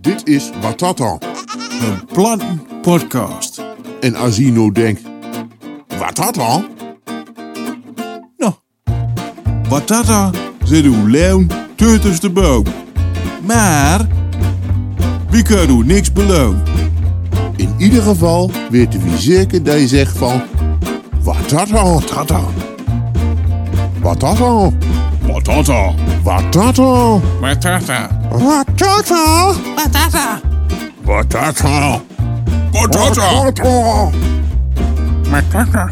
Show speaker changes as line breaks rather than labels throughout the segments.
Dit is Watata.
Een plantenpodcast.
En Asino denkt, Watata?
Nou, Batata zit uw leun tussen de boom. Maar, wie kan u niks beloon?
In ieder geval weten we zeker dat je zegt van, Watata, tata. Watata,
Batata.
watata,
Batata.
watata,
Batata.
watata,
Batata.
watata.
Batata.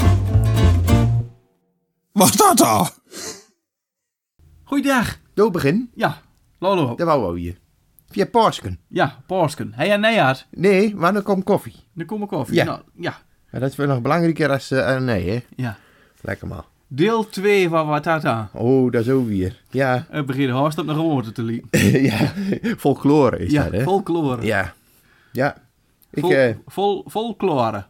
Batata.
Goeiedag.
Doe begin,
Ja, Lolo.
dat wou we je. Via Parsken.
Ja, Porsken. Hé, hey, en nee, Aad.
Nee, maar dan komt koffie.
Dan kom ik koffie.
Ja.
Nou, ja.
Maar dat is wel nog belangrijker als eh, eh, nee, hè?
ja.
Lekker maar.
Deel 2 van Watata.
Oh, dat is ook weer. Ja,
Het begint haast op naar woorden te liepen.
ja. Folklore is
Ja,
dat, hè?
folklore.
ja. Ja. Ik,
Vol,
eh...
vol, folklore.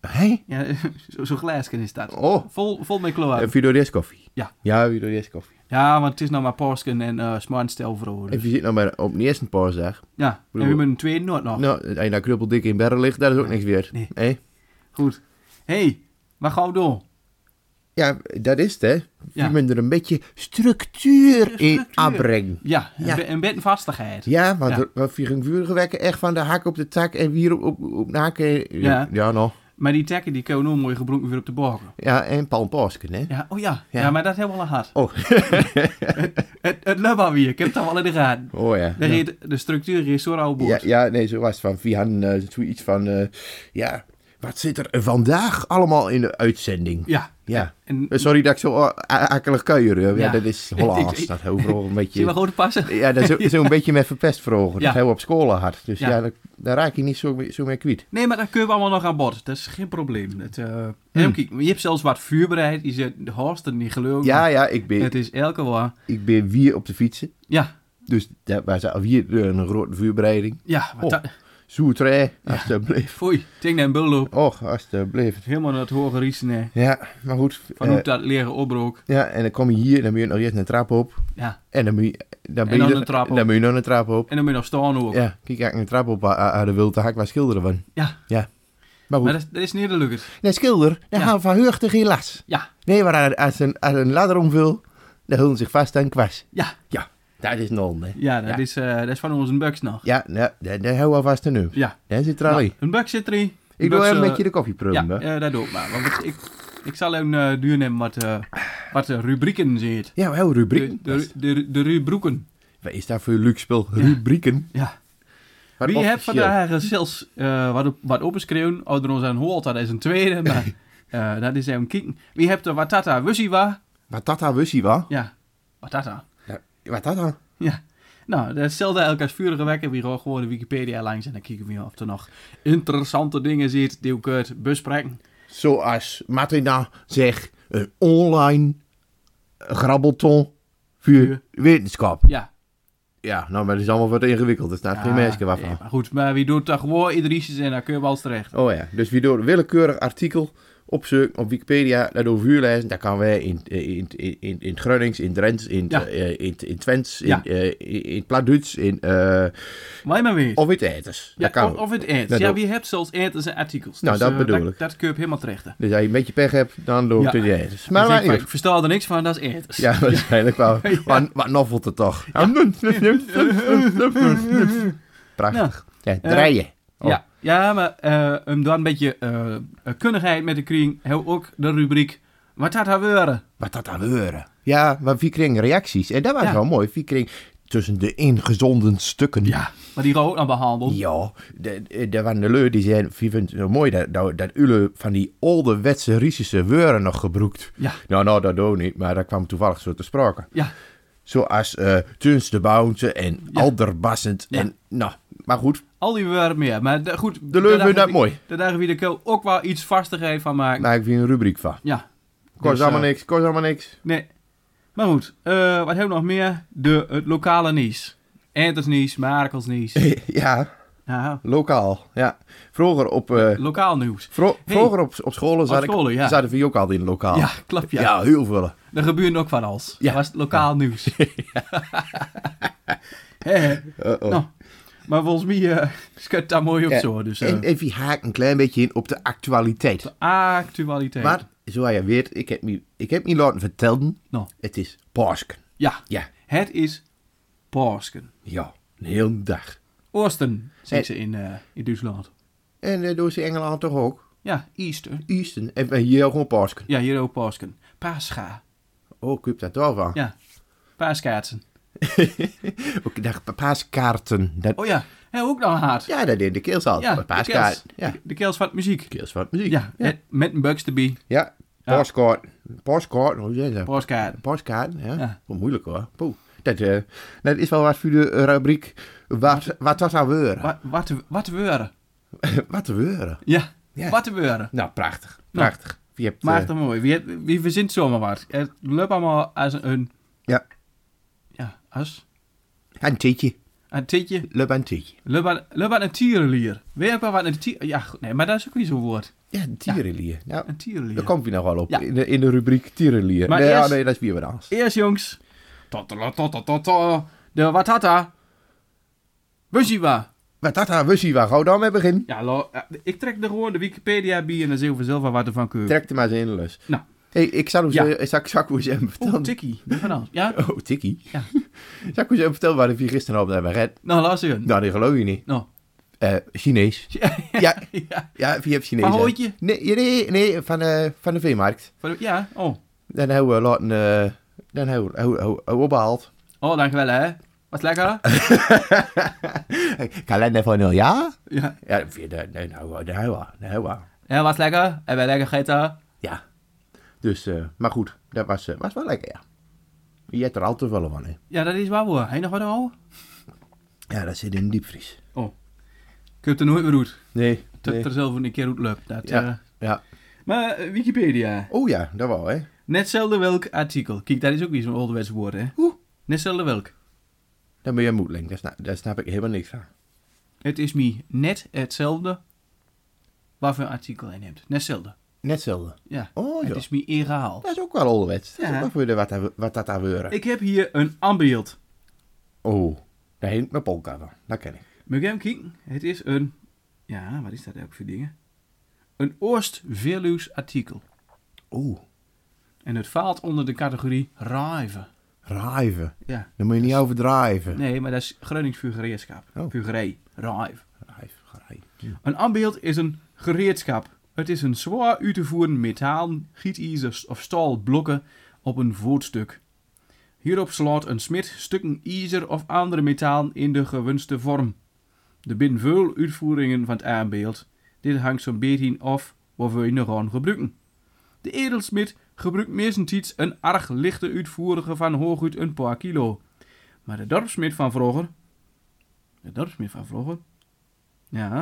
Hé?
Ja, zo- Zo'n glaasken is dat.
Oh.
Vol, vol met kloren.
Een Vidorias koffie.
Ja.
Ja, Vidorias koffie.
ja, want het is nou maar Porsken en uh, Smartstel voor
En je zit nog nou maar op de eerste paarsdag.
Ja, en we
bedoel-
hebben een tweede noot nog.
Nou, als je nou krupeldik in bergen ligt, dat is ook niks weer.
Nee.
Hé?
Goed. Hé, hey, waar gaan we door?
Ja, dat is het, hè?
Ja.
Je moet er een beetje structuur in
Structuur.
aanbrengen.
Ja,
Ja.
een be- een bed en vastigheid.
Ja, want
Ja.
er- want vuurige wekken echt van de hak op de tak en wier op, op, op naken.
Ja.
Ja, ja nou.
Maar die takken die kunnen we nou mooi gebroken weer op de borgen.
Ja, en Paul Pasken, hè?
Ja, oh ja. ja.
Ja.
maar dat hebben we al gehad.
Oh.
Het, het loopt alweer. Ik heb het al wel in de gaten.
oh ja.
Daar heet- De structuur is zo rauw
ja.
boord.
Ja, nee, zo was het van. Vian eh zoiets van, eh, ja, wat zit er vandaag allemaal in de uitzending?
Ja.
Ja.
En,
Eh, Sorry dat ik zo a- a- akelig kuier. Ja,
Ja.
dat is
Ik- ik-
Hollands. Dat overal
zie
een
je wel
beetje...
goed passen?
Ja, dat is ook- is ook een beetje met verpest vroeger.
Ja.
Dat hij op school had. Dus
Ja.
ja, daar, daar raak je niet zo, mee- zo mee kwijt.
Nee, maar dat kunnen we allemaal nog aan bod. Dat is geen probleem. Het, eh,
Hm.
en kijk, je hebt zelfs wat vuur bereid. Je zet de horst er niet geloven.
Ja, ja, ik ben,
Het is elke waar.
ik ben weer op de fietsen.
Ja,
Dus dat was alweer eh, een grote vuurbereiding.
ja. Wat
Oh.
dat-
Zoetrij, alsjeblieft.
Foei. Ting naar een bulloop.
Och, alsjeblieft.
Helemaal naar het hoge riesen. hè.
Ja, maar goed.
Van
eh,
hoe dat leren opbrook.
ja, en dan kom je hier, dan moet je nog eerst een trap op.
Ja.
En dan moet je, dan ben
En dan
je
een trap op.
Dan moet je nog een trap op.
En dan moet je nog staan ook. Ja.
Ja, kijk, ik een trap op aan de wilde hak waar schilderen van. Ja. Maar goed.
Maar dat, is- dat is niet de lukkers.
Nee, schilder, dan
Ja.
gaan we van heugde geen last.
Ja.
Nee, maar aan- als een, als een ladder omvul, dan hullen zich vast aan kwast.
Ja.
Ja, dat is non, hè.
Ja, dat,
Ja.
Is, eh, dat is van onze bugs nog.
Ja, nou, daar daar houden we vast aan nu.
Ja.
Daar zit er al
Nou,
in.
een bug zit erin.
Ik
Bugs,
doe even
eh,
met je de koffie proeven.
Ja,
hè.
eh, dat doe ik maar. Want ik, ik, ik zal even eh, duur nemen wat, eh, wat eh, rubrieken zit.
Ja, heel
De,
rubrieken.
de, de, de rubrieken.
Wat is daar voor luxe Rubrieken.
Ja.
Maar
Wie heeft
officieel.
vandaag eh, zelfs eh, wat, op- wat openschreeuwen? Ouder ons aan hoort, dat is een tweede. Maar eh, dat is even kijken. Wie heeft de watata wussiwa?
Wat dat dan wist je wel?
Ja, watata.
Ja, Wat dat dan?
Ja. Nou, dat is hetzelfde elke als vurige wekker. We gaan gewoon de Wikipedia langs en dan kijken we of er nog interessante dingen zit die we kunnen bespreken.
Zoals Martina zegt, een online grabbelton voor wetenschap.
Ja,
Ja, nou, maar dat is allemaal wat ingewikkeld. Er staat geen meisje
Ah,
waarvan.
nee, maar goed, maar wie doet dat gewoon Idrisjes en dan kun je wel eens terecht.
Oh ja, dus wie door een willekeurig artikel opzoekt op Wikipedia, dat over vuur lezen, dat kan wij in, eh, in, in, in, in het Gronings, in het Drents, in, het,
Ja.
eh, in, het- in het Twents, in,
Ja.
eh, in, in het Plaatduits, in, eh,
Wij maar weer.
of in het Eiters.
Ja,
Oh, dat kan
of,
ook.
of het eind.
Dat
ja,
ook.
wie hebt zelfs eind en zijn artikels.
Nou, dat
eh,
bedoel
dat,
ik.
Dat kun je op helemaal terechten.
Dus als je een beetje pech hebt, dan loopt
Ja.
het in het Eiters.
Maar,
Maar, maar,
ik, ik versta er niks van, dat is eind.
Ja, waarschijnlijk wel.
Ja.
Maar, maar noffelt het toch. Prachtig. Ja, draaien. Oh.
Ja, ja, maar eh om dan een beetje eh, eh, kunnigheid met de kring, hebben we ook de rubriek Wat gaat er gebeuren?
Wat dat aan weuren. Ja, maar wie kreeg reacties? En dat was
Ja.
wel mooi. Wie kreeg tussen de ingezonden stukken.
Ja, maar die gaan we ook nog behandelen.
Ja, de- de- de van de Leur die zijn, wie vindt het zo mooi dat, dat, dat Ule van die ouderwetse Riesische weuren nog gebruikt.
Ja.
Nou, nou, dat doe ik niet, maar dat kwam toevallig zo te sprake.
Ja.
Zoals eh Tuns de Bounce en
Ja.
Alderbassend en, nou, maar goed,
Al die woorden meer. Maar de- goed,
de Leur vindt dat
mooi.
mooi.
Daar dagen we de keel ook wel iets vastigheid van maken.
Maak weer een rubriek van.
Ja.
Kost
Dus,
allemaal
eh,
niks, kost allemaal niks.
Nee. Maar goed, eh, wat hebben we nog meer? De, het lokale nieuws. Entersnieuws, Marekelsnieuws.
ja,
Ja,
lokaal. Ja. Vroeger op, eh,
lokaal nieuws.
vro- vroeger op, op scholen zat ik-
scholen, ja.
zaten we ook altijd in lokaal.
Ja, klopt ja.
ja. heel veel.
Er gebeurde ook van alles.
Ja.
Dat was het lokaal nieuws. Hè, hè.
Uh-oh.
Nou, Maar volgens mij eh, schudt daar mooi op zo. Dus eh,
en even haak een klein beetje in op de actualiteit.
actualiteit.
Maar, zoals je weet, ik heb me, ik heb me laten vertellen,
Nou,
het is Paasken.
ja.
Ja,
Het is Paasken.
ja, een hele dag.
Oosten, zeggen
Eh.
ze in, eh, in Duitsland.
En eh, door ze Engeland toch ook?
Ja, Easter.
Easton. En en hier gewoon Paasken.
Ja, hier ook Paasken. Pascha.
Oh, ik heb dat wel van.
Ja, paaskaartsen.
Ik dacht, paaskaarten. Dat,
Oh ja, hè, ook nog hard.
ja. dat deed de keels al.
Ja, de
paaskaart.
kerst.
Ja,
De kels van het muziek.
keels van muziek.
Ja,
ja.
met- met een Bugsby.
ja. Paaskaart. Paaskaart, hoe zeg je dat?
Paaskaart.
Paaskaart, ja.
Ja.
Wat moeilijk hoor. Poeh. Dat, eh, dat is wel wat voor de eh, rubriek wat, wat dat aan weuren.
Wat, wat, wat weuren.
Wat te weuren.
Ja,
Ja.
wat weuren.
Nou, prachtig. Prachtig. Je hebt,
Maakt
eh,
het mooi. Wie, het- wie verzint zomaar wat. Eh, Het loopt allemaal als een...
Ja.
Ja, als...
Een tietje.
Een titje.
Le bantietje.
Loopt aan- loopt aan een tierenlier. Weet je wel wat een tier... Ja, goed, nee, maar dat is ook niet zo'n woord.
Ja, een tierenlier. Nou,
Een
daar
tierenlier.
komt hij nog wel op.
Ja.
In, de, in de rubriek tierenlier.
Maar
Nee,
eerst-
oh, nee, dat is weer wat anders.
Eerst jongens. Totala, totala, totala. De watata. Bushiwa.
Maar dat nou, aan wussie waar gauw dan mee begin.
Ja, lo, eh, ik trek er gewoon de Wikipedia bij en dan zien we zelf wel wat er van komt.
Trek er maar eens in de lus.
Nou.
Hey, ik zal
Ja.
hem ja. Oh, zal, zal ik eens even
Oeh,
vertellen.
tikkie. Van alles. nou? Ja?
Oh, tikkie.
Ja.
zal ik eens even vertellen waar de vier gisteren op hebben gered?
Nou, laat zien.
Nou, die geloof je niet.
Nou.
Eh, Chinees.
Ja.
Ja,
Ja.
ja, wie hebt Chinees?
Van
hè?
Hooitje?
Nee, nee, nee van, eh, van de veemarkt.
Van- Ja. Oh.
Dan hebben we laten... eh, dan hebben we- hebben we hebben we opgehaald.
Oh, dankjewel hè. Was lekker?
Kalender van een jaar?
Ja.
Ja, dat vind je- nee, nou, nou, nou, nou, nou.
Ja, was lekker. En wij lekker gegeten.
Ja. Dus, eh, maar goed, dat was, eh, was wel lekker, ja. Je hebt er al te veel van, hè.
Ja, dat is waar hoor. Heb je nog wat ouwe?
Ja, dat zit in de diepvries.
Oh. Ik heb het er nooit meer uit.
Nee.
Ik heb het er zelf een keer uit lukt. Dat,
Ja.
eh.
Ja.
Maar eh, Wikipedia.
Oh ja, dat wel, hè.
Net zelden welk artikel. Kijk, dat is ook weer zo'n ouderwets woord hè.
Oeh.
Net zelden welk.
Dan ben je moedling, daar snap, daar snap ik helemaal niks van.
Het is me net hetzelfde wat voor een artikel hij neemt. Net hetzelfde.
Net hetzelfde.
Ja.
Oh,
het
joh.
is me egaal.
Dat is ook wel onderwets. Dat is
Ja.
ook wel voor de wat, daar- wat dat daar weuren.
Ik heb hier een ambeeld.
Oh, daar heen mijn polka van. Dat ken ik.
Moet ik hem kijken? Het is een... Ja, wat is dat eigenlijk voor dingen? Een Oost-Veluws artikel.
Oeh,
En het faalt onder de categorie rijven.
rijven.
Ja.
Dan moet je niet overdrijven.
Nee, maar dat is Gronings vuurgereedschap.
Oh.
Vuurgerij. Rijf.
Rijven, rijven.
Een ambeeld is een gereedschap. Het is een zwaar uit te voeren metaal, gietijzer of staalblokken op een voetstuk. Hierop slaat een smid stukken ijzer of andere metaal in de gewenste vorm. Er zijn veel uitvoeringen van het aanbeeld. Dit hangt zo'n beetje af wat we nog gaan gebruiken. De edelsmid gebruikt meestens een arg lichte uitvoerige van hooguit een paar kilo. Maar de dorpsmid van vroeger... De dorpsmid van vroeger? Ja,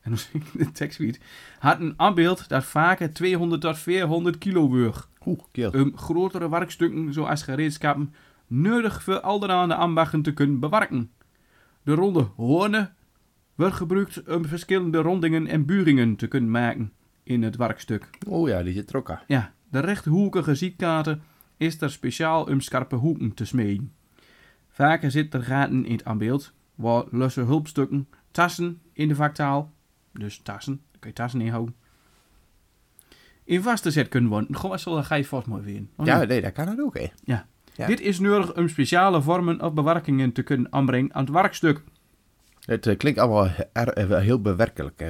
en dan zie ik de tekst weer. Had een ambeeld dat vaker 200 tot 400 kilo weeg.
Oeh, keel.
Um grotere werkstukken zoals gereedschappen nodig voor alderaande ambachten te kunnen bewerken. De ronde hoornen wordt gebruikt om verschillende rondingen en buringen te kunnen maken in het werkstuk.
Oh ja, die zit er ook aan.
Ja, de rechthoekige ziekkaarten is er speciaal om scherpe hoeken te smeden. Vaker zit er gaten in het aanbeeld, waar losse hulpstukken, tassen in de vaktaal, dus tassen, daar kun je tassen in houden, in vast te zet kunnen worden. Gewoon, zo, dan ga je vast mooi weer in. Oh,
Ja,
nee.
nee, dat kan dat ook, hè.
ja.
ja.
Dit is nodig om speciale vormen of bewerkingen te kunnen aanbrengen aan het werkstuk.
Het eh, klinkt allemaal he- er- eh, wel heel bewerkelijk. eh.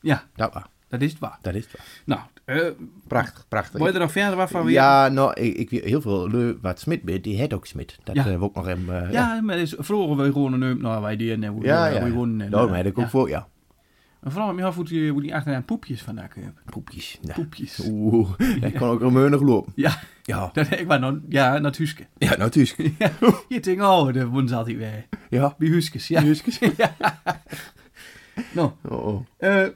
Ja,
dat, wel,
dat is het waar.
dat is het wel.
Nou, eh
Prachtig, prachtig.
wil je er nog verder wat van weer?
Ja, nou, ik, ik weet heel veel leu- wat Smit bent, die het ook Smit. Dat
Ja.
ja. ook nog hem... eh, ja,
Ja, maar is, vroeger we gewoon een neum, nou wij die en hoe
ja.
hoe-
ja. Nou,
hoe- hoe- en,
Daarom
eh,
heb ik
ja.
ook voor, ja.
Maar vooral me af hoe die, hoe die achternaam poepjes vandaan komt.
Poepjes. Ja.
Poepjes.
Oeh, ik kon ook remeunig lopen.
Ja,
Ja,
dat ik maar nou, ja, naar het huske.
ja natuurlijk.
Ja, je denkt, oh, daar woont ze altijd weer.
Ja.
Bij huskes, ja. ja. Nou,
Oh, oh.
eh,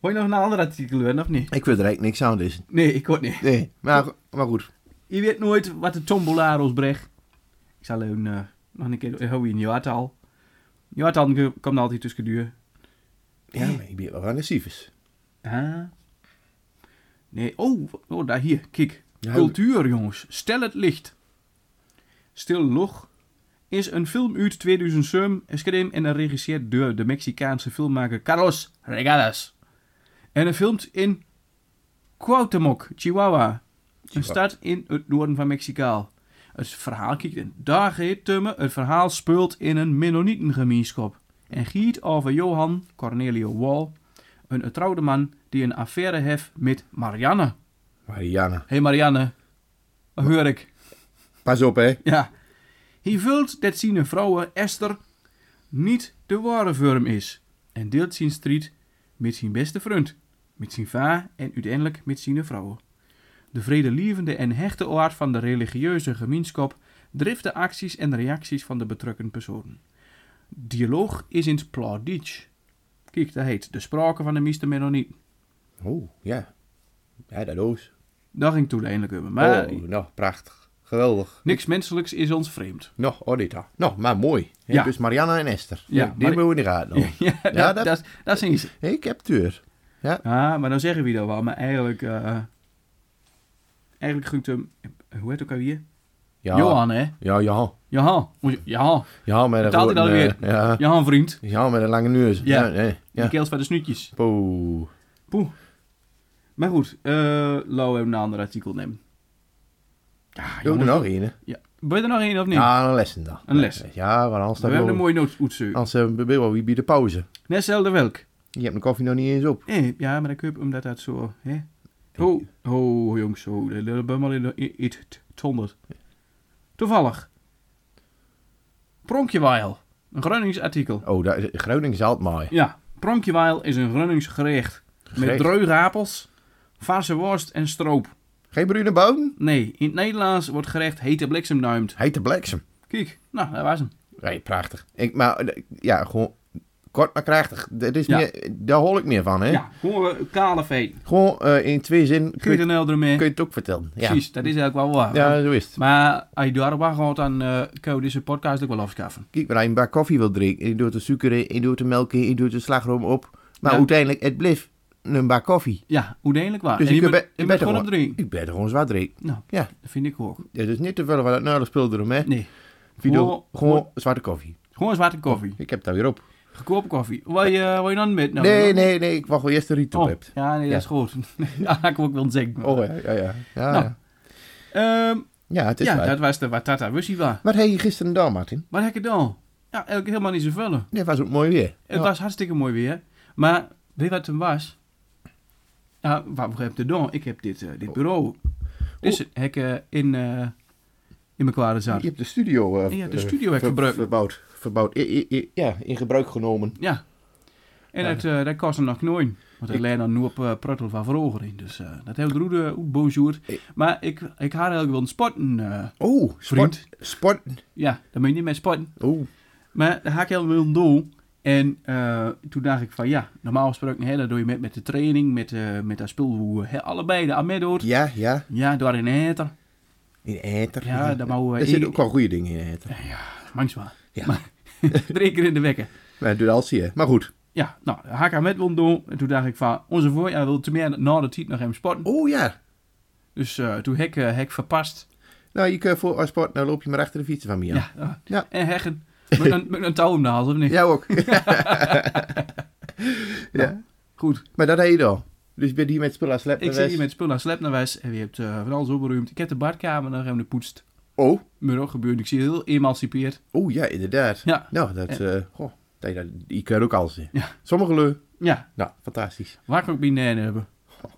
wil je nog een ander artikel hebben, of niet?
Ik wil er eigenlijk niks aan, dus.
Nee, ik hoor niet.
Nee, maar, maar goed.
Je weet nooit wat de tombola ons brengt. Ik zal een, eh, nog een keer, hou je in je hart al. Je hart al komt altijd tussen duur.
Ja, maar ik ben wel agressief.
Ah. Nee, oh, oh daar hier, kijk.
Ja,
Cultuur, jongens. Stel het licht. Stil log is een film uit 2007 geschreven en geregisseerd door de Mexicaanse filmmaker Carlos Regadas. En hij filmt in Cuauhtémoc, Chihuahua. Een stad in het noorden van Mexicaal. Het verhaal kijkt in. Daar heet Tumme. Het verhaal speelt in een Mennonitengemeenschap. En giet over Johan Cornelio Wall, een getrouwde man die een affaire heeft met Marianne.
Marianne.
Hé hey Marianne, dat hoor ik.
Pas op, hè.
Ja. Hij vult dat zijn vrouw Esther niet de ware vorm is. En deelt zijn strijd met zijn beste vriend, met zijn va en uiteindelijk met zijn vrouw. De vredelievende en hechte aard van de religieuze gemeenschap drift de acties en reacties van de betrokken personen. Dialoog is in het plauditsch. Kijk, dat heet de sprake van de meeste Mennonieten.
Oh, ja. Ja, dat is.
Daar ging toen eindelijk over. Maar
Oh, nou, prachtig. Geweldig.
niks menselijks is ons vreemd.
Nou, oh, dit ah. Nou, maar mooi. Hè,
Ja.
Dus Marianne en Esther.
Ja,
Ja, die
maar-
moeten we in de gaten houden.
Ja,
Ja,
dat,
dat-
dat, dat zijn ze.
Hé, Ik heb het deur. Ja.
Ah, maar dan zeggen we dat wel. Maar eigenlijk... eh eigenlijk groet hem... Hoe heet ook alweer?
ja.
Johan, hè?
Ja, Johan.
Johan. Moet je- Johan.
Johan met een
Betaalt hij
grote,
dan
eh, Ja.
Johan, vriend.
Johan met een lange neus.
Ja.
Ja. nee,
Die
ja.
keelt van de snoetjes.
Poeh.
Poeh. Maar goed. eh laten we even een ander artikel nemen. Ja,
Doe er
jongens.
nog een, hè?
Ja. Ben je er nog één of niet?
Ja, een lessen dan.
Een les.
Ja, maar anders...
we hebben een mooie noodsoetsen.
Anders hebben we wel wie bij de pauze.
Net zelfde welk.
Je hebt mijn koffie nog niet eens op.
Nee, ja, maar dan kun je omdat dat zo... Hè? Ho, ho, jongens, ho. Dat dat ben maar in de- in- in het honderd. Toevallig. Pronkjeweil. Een Groningsartikel.
Oh, daar, Groningen is altijd mooi.
Ja, pronkjeweil is een Groningsgerecht. Met
Gerecht.
dreuge apels, vaarse worst en stroop.
Geen bruine bonen?
Nee, in het Nederlands wordt gerecht hete bliksem nuimd.
Hete bliksem.
Kijk, nou, dat was hem.
Nee, prachtig. Ik, maar eh, ja, gewoon kort maar krachtig. Dat is
Ja.
meer, daar hoor ik meer van, hè?
Ja, gewoon we kale vee.
Gewoon eh, in twee zinnen kun,
Kun je
je-
er nou mee?
kun je het ook vertellen. Ja.
Precies, dat is eigenlijk wel waar.
Ja, zo is het.
Maar als je daar waar gaat, dan eh kun je deze podcast ook wel afschaffen.
Kijk, maar als je een bak koffie wil drinken, je doet de suiker in, je doet de melk in, je doet de slagroom op. Maar
Ja.
uiteindelijk, het bleef een bak koffie.
Ja, uiteindelijk waar.
Dus
en
ik
je
ben-
bent,
ik
je
ben
bent gewoon
er
op drie.
Ik ben er gewoon zwaar drinken.
Nou,
Ja,
dat vind ik ook.
dat is niet te veel van het nou spul erom, hè?
Nee,
Video,
Gewoon-
gewoon zwarte koffie.
gewoon zwarte koffie.
Ik heb het daar weer op.
Goedkope koffie. Wat je, wat je dan met? Nou,
nee,
dan-
nee, nee, ik wacht wel eerst de riet op
Oh,
hebt.
ja, nee, dat is goed. ja, dat kan ik wel zeggen.
Oh, ja, ja, ja. Ja,
Nou,
ja.
Ehm,
ja het is
ja
waar.
dat was de Watata Wussie waar.
Wat heb je gisteren gedaan, Martin?
Wat heb ik gedaan? Ja, eigenlijk helemaal niet zoveel. vullen.
Het was ook mooi weer.
Het was hartstikke mooi weer. Maar weet je wat het was? Ja, wat heb ik gedaan? Ik heb dit,
Oh.
eh, dit bureau. Dus heb ik eh, in, eh, in mijn kwade
Ja,
zat.
Je hebt de studio... eh,
Ja, de
eh,
studio heb ik gebruikt.
Verbouwd. verbouwd. I- i- i- ja, in gebruik genomen.
Ja. En
Ja.
Het, eh, dat kost nog nooit. Want ik leer dan nu op eh pruttel van vroeger in. Dus eh, dat heel goed, eh, goed bonjour.
Ik-
Maar ik, ik had eigenlijk wel een sporten. eh,
Oh, sport.
Vriend.
Sport.
ja, dan moet je niet meer sporten.
Oh,
Maar dat had ik heel wel doen. En eh, toen dacht ik van ja, normaal gesproken, hè, dat doe je met, met de training, met, eh, met dat spul hoe eh, hè, allebei de Amedor. Ja,
ja, ja.
daar in Heter.
In Eter.
Ja, daar mogen we-
Er zitten ook wel goede dingen in Eter.
Mangsma.
Ja.
Maar, drie keer in de wekken.
Maar het doet alles hier. Maar goed.
Ja, nou, dat had ik met wil doen. En toen dacht ik van, onze voorjaar wil te meer na de tijd nog hem sporten.
Oh ja.
Dus eh, toen hek, eh, hek verpast.
Nou, je kunt voor als sport, nou loop je maar achter de fietsen van mij aan.
Ja. ja.
Ja.
En heggen. Met een, met een touw om de hals, of niet?
Jou ook. ja.
Goed.
Maar dat heb je dan. Dus je bent hier met spullen als laptop.
Ik zit hier met spullen aan Slepnerwijs en we hebt eh, van alles opgeruimd. Ik heb de badkamer nog hem gepoetst.
Oh.
Maar ook gebeurd. Ik zie het heel emancipeerd.
Oh ja, inderdaad.
Ja.
Nou, dat... eh goh, dat, dat, je kunt ook alles in.
Ja.
Sommige leu.
Ja,
Nou, fantastisch.
waar kan ik mijn nen hebben?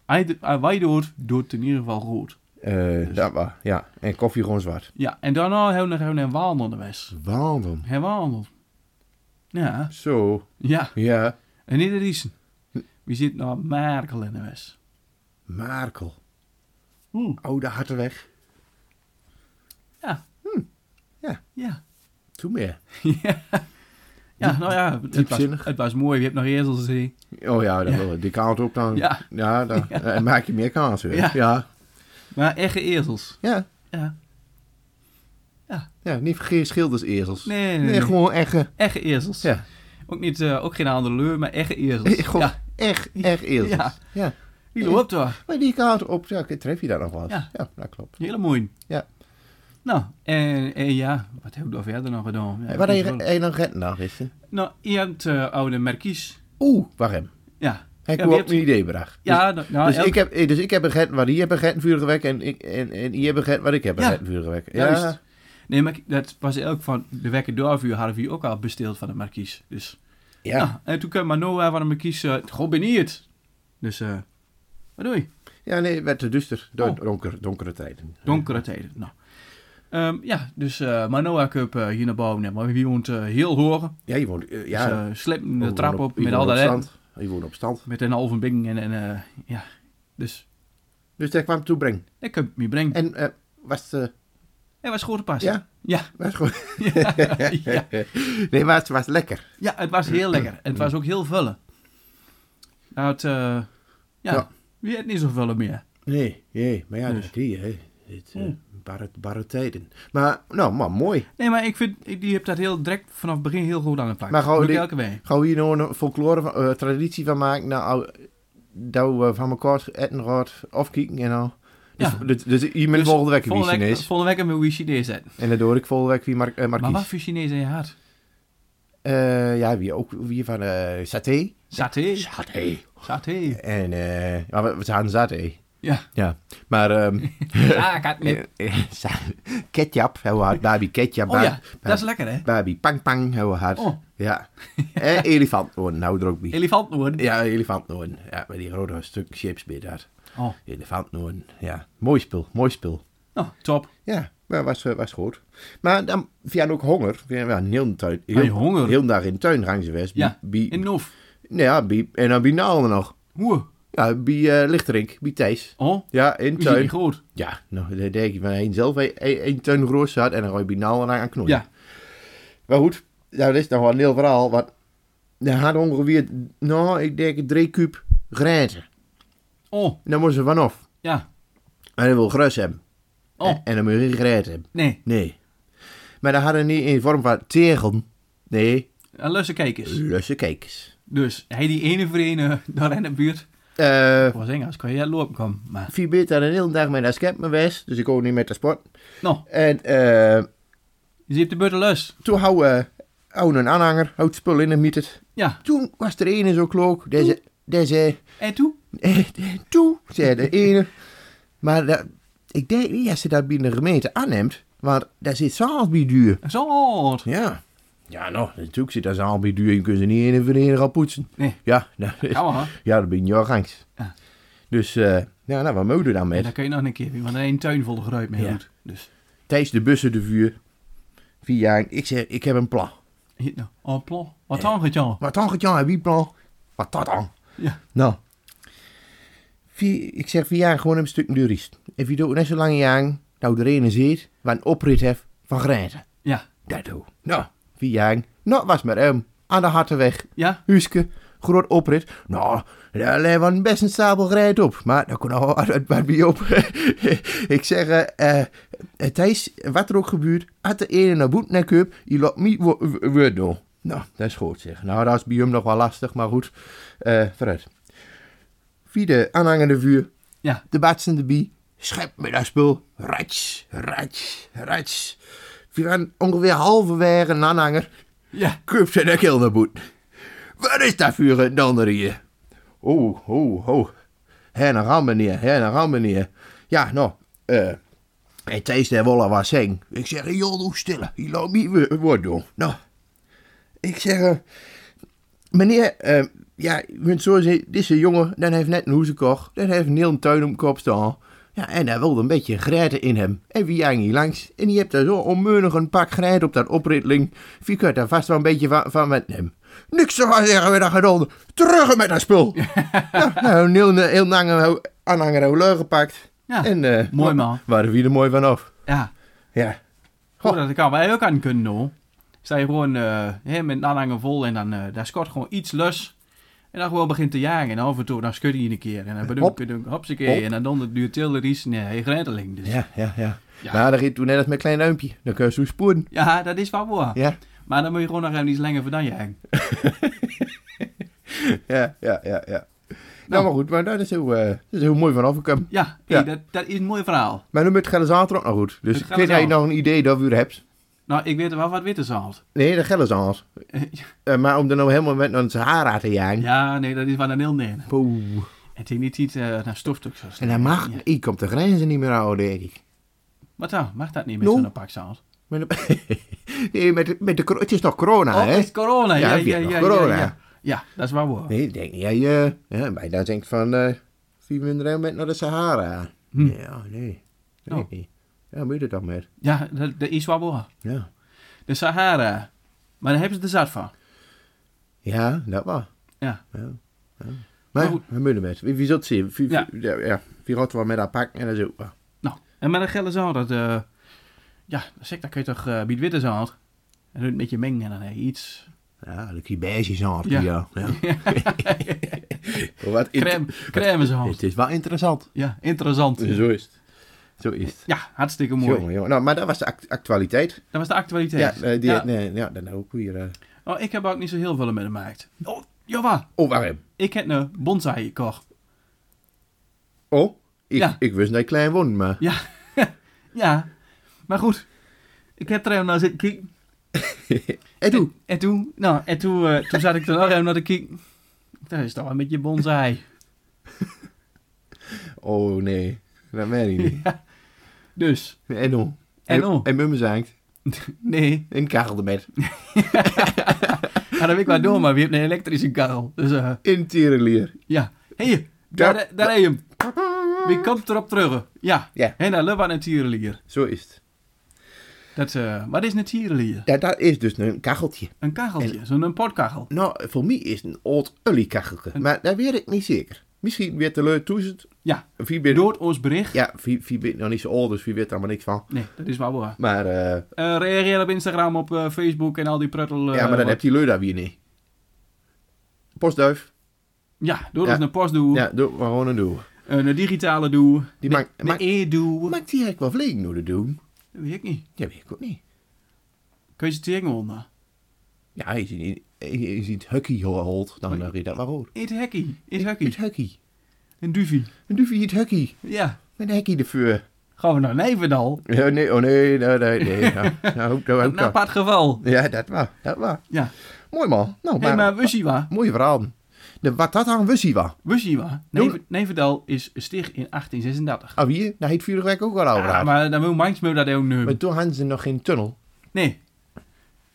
Hij de- hij Wij doet, doet het in ieder geval goed.
Eh
Dus-
dat waar. Ja. En koffie gewoon zwart.
Ja, en daarna hebben we nog even een wandelonderwijs.
Waarom?
Hij wandelt. Ja,
Zo.
ja.
Ja.
En niet de riesen. We zitten nou Merkel in de west.
Markel. Oh,
Oeh.
Oude hartenweg.
Ja.
Hm. Ja.
Ja.
Toen meer.
Ja, nou ja, het was,
diepzinnig.
het was mooi. Je hebt nog eerst al gezien.
Oh ja, dat wil ik. Die kant op dan.
Ja.
Ja, dan eh, maak je meer kans weer.
Ja.
Ja. Ja.
Maar echte ezels.
ja.
Ja.
niet geen schildersezels.
Nee, nee,
nee.
nee.
gewoon echt. eh,
Echte ezels.
Ja.
Ook, niet, eh, ook geen andere leur, maar echte ezels.
Gewoon
Ja,
echt, echt ezels.
Ja.
Ja.
die loopt daar.
Maar die kant op, ja, tref je daar nog wel eens.
Ja.
Ja, dat klopt.
Hele mooi.
Ja.
Nou, en, en ja, wat heb ik daar verder nog gedaan? Ja,
Wat
dat is
heb je-
wel-
heb je dan geten nou gisteren?
Nou, je hebt eh, oude Merkies.
Oeh, wacht hem.
Ja.
Hij
Ja, wie
kwam op
hebt-
mijn idee bracht.
Ja, nou, nou,
dus,
elk-
ik heb, eh, dus ik heb een geten waar die hebben een geten vuur gewekt en, ik, en, en die hebben een geten waar ik heb een
Ja.
geten vuur gewekt. Ja,
Juist. Nee, maar dat was elk van de wekker doorvuur hadden we hier ook al besteld van de markies. Dus
ja.
ja, en toen kwam maar Noah van de markies, eh goh, ben je het? Dus, eh wat doe je?
Ja, nee, het werd te duister. Don-
Oh.
donker, donkere tijden.
Donkere tijden. Nou. Ehm, ja, dus eh maar Noah kuip eh, hier naar boven. Maar wie woont eh, heel hoog.
Ja, je woont... eh,
Ja.
ja,
Dus eh, slep
je
de
woont
trap op
je
met
woont
al dat hè.
stand. Je woont op stand.
Met een halve bing en, en eh, ja. Dus
Dus daar kwam toe brengen.
ik heb me brengen.
En eh, was het... eh,
Hij was goed te passen.
ja,
Ja.
was gewoon...
ja.
Nee, maar het was lekker.
Ja, het was heel lekker. En het was ook heel vullen. Nou, het, eh, ja,
Ja.
je hebt niet zo vullen meer.
Nee, nee, maar ja,
Dus. Hmm.
dat die, hè. Het, eh,
Ja.
barre, barre tijden. Maar, nou, maar mooi.
Nee, maar ik vind, ik- die hebt dat heel direct vanaf het begin heel goed aan het
Maar
pakken.
gewoon
Doe ik
die-
elke week.
Gaan we hier nou een folklore van, eh, traditie van maken? Nou, eh, dat we van elkaar eten gaat, afkieken en al. Dus,
Ja.
dus, dus iemand
Dus
volgende week wie
volgende week-
Chinees.
Volgende week hebben we Chinees zetten.
En daardoor ik volgende week wie Mar eh,
Maar
Marquise.
wat voor Chinees in je hart?
Eh, ja, wie ook wie van eh saté.
Saté.
Saté.
Saté.
En eh, ja, we, we zaten saté.
Ja.
Ja, maar ehm
Ja, ik had het niet.
eh, eh, sa- ketjap, heel hard. Babi ketjap,
Oh ja,
babi-
dat is lekker hè?
babi pang pang, heel hard.
Oh.
Ja. En elefant, oh, nou er ook bij.
Elefantnoorden.
ja, elefantnoorn. Ja, met die grote stuk chips bij daar.
Oh,
Elefantnoorn, ja. Mooi spul, mooi spul.
nou, top.
Ja, maar was, eh, was goed. Maar dan, via ook honger. Ja, ja, een hele tuin.
Ah, je honger.
Heel dag in de tuin gaan ze best.
Ja,
Bij-
in Nof.
Nou ja, bij, en dan bij Naalden nog.
Hoe?
Ja, bij eh Lichterink, bij Thijs.
Oh,
Ja, in
wie is
tuin.
niet groot?
Ja, nou, daar denk je van één zelf, één tuin roos had en dan gooi je bij Naalden aan knoeien.
Ja.
Maar goed, nou, dat is nog wel een heel verhaal, want daar had ongeveer, nou, ik denk drie kuub grijzen.
Oh,
En dan moesten ze vanaf.
ja.
En dan wil gras hebben.
Oh,
En, en dan moet je geen grijs hebben.
nee.
Nee. Maar dat hadden niet in vorm van tegel. Nee,
Een lusse kijkers.
lusse kijkers.
Dus hij die ene voor ene daar in de buurt.
Eh...
Ik was Engels, kan jij lopen komen. Maar,
Vier bit aan een hele dag met een skep me was, dus ik kon niet met de sport.
nou,
En eh,
je ziet de beurt lust.
toen hou, eh, hou een aanhanger, houdt spul in en miet het.
Ja,
Toen was er ene zo klook, daar zei- daar zei,
en toen?
toe, zei de ene. Maar dat- ik denk niet dat ze dat binnen de gemeente aanneemt, want daar zit zaal bij duur.
Een Zout.
Ja. Ja, nou, natuurlijk zit daar zaal bij duur, je kunt ze niet in een vereniging gaan poetsen.
Nee.
Ja, nou,
Ja, hoor.
ja dat ben je gangs.
Ja.
Dus, eh ja, nou, wat moet je dan
En
met?
dan kun je nog een keer, weer, want er is een tuin vol geruit mee
Ja.
goed. Dus,
Thijs de bussen de vuur. Vier jaar. Ik zeg, ik heb een plan.
hier, nou, oh, plo. Wat dan gaat jou?
Eh. Wat dan gaat Jan? Wie plan? Wat dat dan?
Ja.
Nou. Vier, ik zeg vier jaar gewoon een stuk durist. En wie doet net zo lang jaar nou de ene zit waar een oprit heeft van grenzen.
Ja,
Dat doe. Nou, vier jaar. Nou, was maar hem. Aan de hartenweg.
ja,
Huske. Groot oprit. Nou, daar lijkt wel best een stapel grijt op. Maar daar kon al uit bij mij op. ik zeg, eh, eh, Thijs, wat er ook gebeurt, had de ene naar boet naar cup, je laat me wo- w- word doen. Nou, dat is goed zeg. Nou, dat is bij hem nog wel lastig, maar goed. Eh vooruit. Via de aanhangende vuur,
ja.
de batsende bie, schep me dat spul. Rats, rats, rats. We waren ongeveer halverwege een aanhanger.
Ja,
Kup zijn nek heel naar boet. Wat is dat voor een donder hier? Oh, oh, oh. Her naar aan, meneer. Her naar aan, meneer. Ja, nou. eh en Thijs de Wolle was zeng. Ik zeg, joh, doe stil. Je loopt niet wo- woord doen. Nou. Ik zeg, eh, meneer, eh, ja, je kunt zo zeggen, dit is een jongen, dat heeft net een hoezekocht, dat heeft een hele tuin om kop staan. Ja, en hij wilde een beetje grijten in hem. En wie ging hier langs? En die hebt daar zo onmeunig een pak grijt op dat opritteling. Wie kunt daar vast wel een beetje van, van met hem? Niks te gaan zeggen, we dat gedaan. Terug met dat spul! nou, nou, een heel, heel lange aanhanger hebben we gepakt.
Ja,
en, eh,
mooi
wa-
man.
Waren we er mooi van af.
ja.
Ja.
Goed, dat kan wij ook aan kunnen doen. Sta je gewoon eh, hè, met een aanhanger vol en dan eh daar scoort gewoon iets lus. En dan gewoon begint te jagen. En af en toe dan schud je een keer. En dan bedoel
Hop.
ik, hopsakee.
Hop.
En dan dondert duurt heel de ries. Nee, grenteling. Dus.
Ja, ja, ja.
Ja.
Maar dat ging toen net als mijn klein duimpje. Dan kun je zo spoelen.
Ja, dat is wel waar.
Ja.
Maar dan moet je gewoon nog even iets langer vandaan jagen.
Ja, ja, ja, ja. Nou, maar goed, maar dat is heel, eh, dat is heel mooi vanaf ik hem.
Ja, hey,
Ja.
Dat, dat is een mooi verhaal.
Maar nu met Gelderzater ook nog goed. Dus
Met
kreeg jij
Gelderzaal.
nog een idee dat we er hebt?
Nou, ik weet wel wat witte zaalt.
Nee, dat Gelderzaals. Eh maar om er nou helemaal met naar het Sahara te jagen.
Ja, nee, dat is wel een heel nee.
Poeh.
Het is niet iets eh, naar stofstuk zo
En
snel.
dat mag. Ik kom de grenzen niet meer houden, denk ik.
Wat dan? Mag dat niet met
Nou.
zo'n pak zaalt?
Met de, nee, met de, met de, cor- het is nog corona,
oh,
Ah, hè?
het is corona. Ja,
Ja,
ja,
heb je
ja,
nog
ja,
corona?
ja. Ja, dat is waar hoor.
Nee, ik denk niet. dat je ja, maar dan denkt van, eh wie minder heel met naar de Sahara. Ja, nee.
Hm.
Dat weet ik
Oh.
niet. Ja, moet je dat dan met?
Ja, dat, dat is waar hoor.
Ja.
De Sahara. Maar daar hebben ze er zat van.
Ja, dat wel.
Ja. Maar
Maar,
goed.
we moeten met. Wie, wie zult zien? Wie,
Ja.
ja. Ja, ja. Wie gaat wel met dat pak en dat is ook wel.
Nou, en met een gelle zaal, dat... eh, ja, dat zeg, dan kun je toch eh bij het witte zaal. En dan een beetje mengen en dan heb je iets...
Ja, de beige zaad.
Ja.
Ja. ja. Maar Wat int-
Crème, crème zaal.
Het is wel interessant.
Ja, interessant.
Zo is het. Zo is het.
Ja, hartstikke mooi.
Jongen, jongen. Nou, maar dat was de act- actualiteit.
Dat was de actualiteit.
Ja, eh, die,
Ja.
Nee, ja, dan ook weer. eh.
Oh, ik heb ook niet zo heel veel mee gemaakt. Oh, jawel.
Oh, waarom?
Ik heb een bonsai gekocht.
Oh, ik,
Ja.
ik wist dat ik klein woon, maar.
Ja. ja. Maar goed. Ik heb er even naar zitten kijken.
En toen?
En toen, nou, en toen, eh, toen zat ik er nog even naar te kijken. Dat is toch wel een beetje bonsai.
Oh nee, dat weet ik niet.
Dus,
En hoe?
En hoe?
En mummen zangt.
nee.
En kachel de bed.
Ga dat ik wel door, maar we hebben een elektrische kuil. Dus, eh,
In tierenlier.
ja. Hé, hey, daar,
Ja.
daar heb je hem. Wie komt erop terug? Ja.
Ja.
En dan lubba een tierenlier.
Zo is het.
Dat, eh, wat is een tierenlier?
Ja, dat is dus een kacheltje.
Een kacheltje, zo'n een potkachel.
Nou, voor mij is het een oud oliekacheltje. Maar dat weet ik niet zeker. Misschien weer te leuk toezend.
Ja.
Wie weet-
Door ons bericht.
Ja, wie, wie weet nog niet zo oud, dus wie weet daar maar niks van.
Nee, dat is wel waar.
Maar, eh,
Eh, reageer op Instagram, op eh, Facebook en al die pruttel. eh,
ja, maar
wat-
dan heb je leu daar weer niet. Postduif.
Ja, door
Ja.
ons een postdoe,
Ja, doe maar gewoon een doe.
een eh, digitale doe,
Die
een-
maakt-
een
maakt-
e-doe.
Maakt die eigenlijk wel vliegen door de doen?
Dat weet ik niet.
Ja, weet ik ook niet.
Kun je ze tegen onder?
Ja, je ziet, niet- je ziet hockey holt, dan eh, je dat wel goed.
Eet hekkie, eet
Het
hekkie.
hockey.
Een duvie.
Een duifje het hockey.
Ja.
Met een hekkie de vuur.
Gaan we naar Nijverdal?
Ja, nee, oh nee, nee, nee, nee. Nou, nou, nou,
Een
nou, nou.
apart geval.
Ja, dat was, dat was.
Ja.
Mooi man. Nou,
Hé, hey,
maar,
maar Wussiwa.
mooie verhaal. De, wat dat aan wussie was.
Wussiwa.
Doe-
Nijverdal is sticht in 1836.
Ah, wie? Nou, heet vuurwerk ook al over
Ah,
had. maar...
maar dan wil Mansmeu dat ook nu.
toen hadden ze nog geen tunnel.
Nee.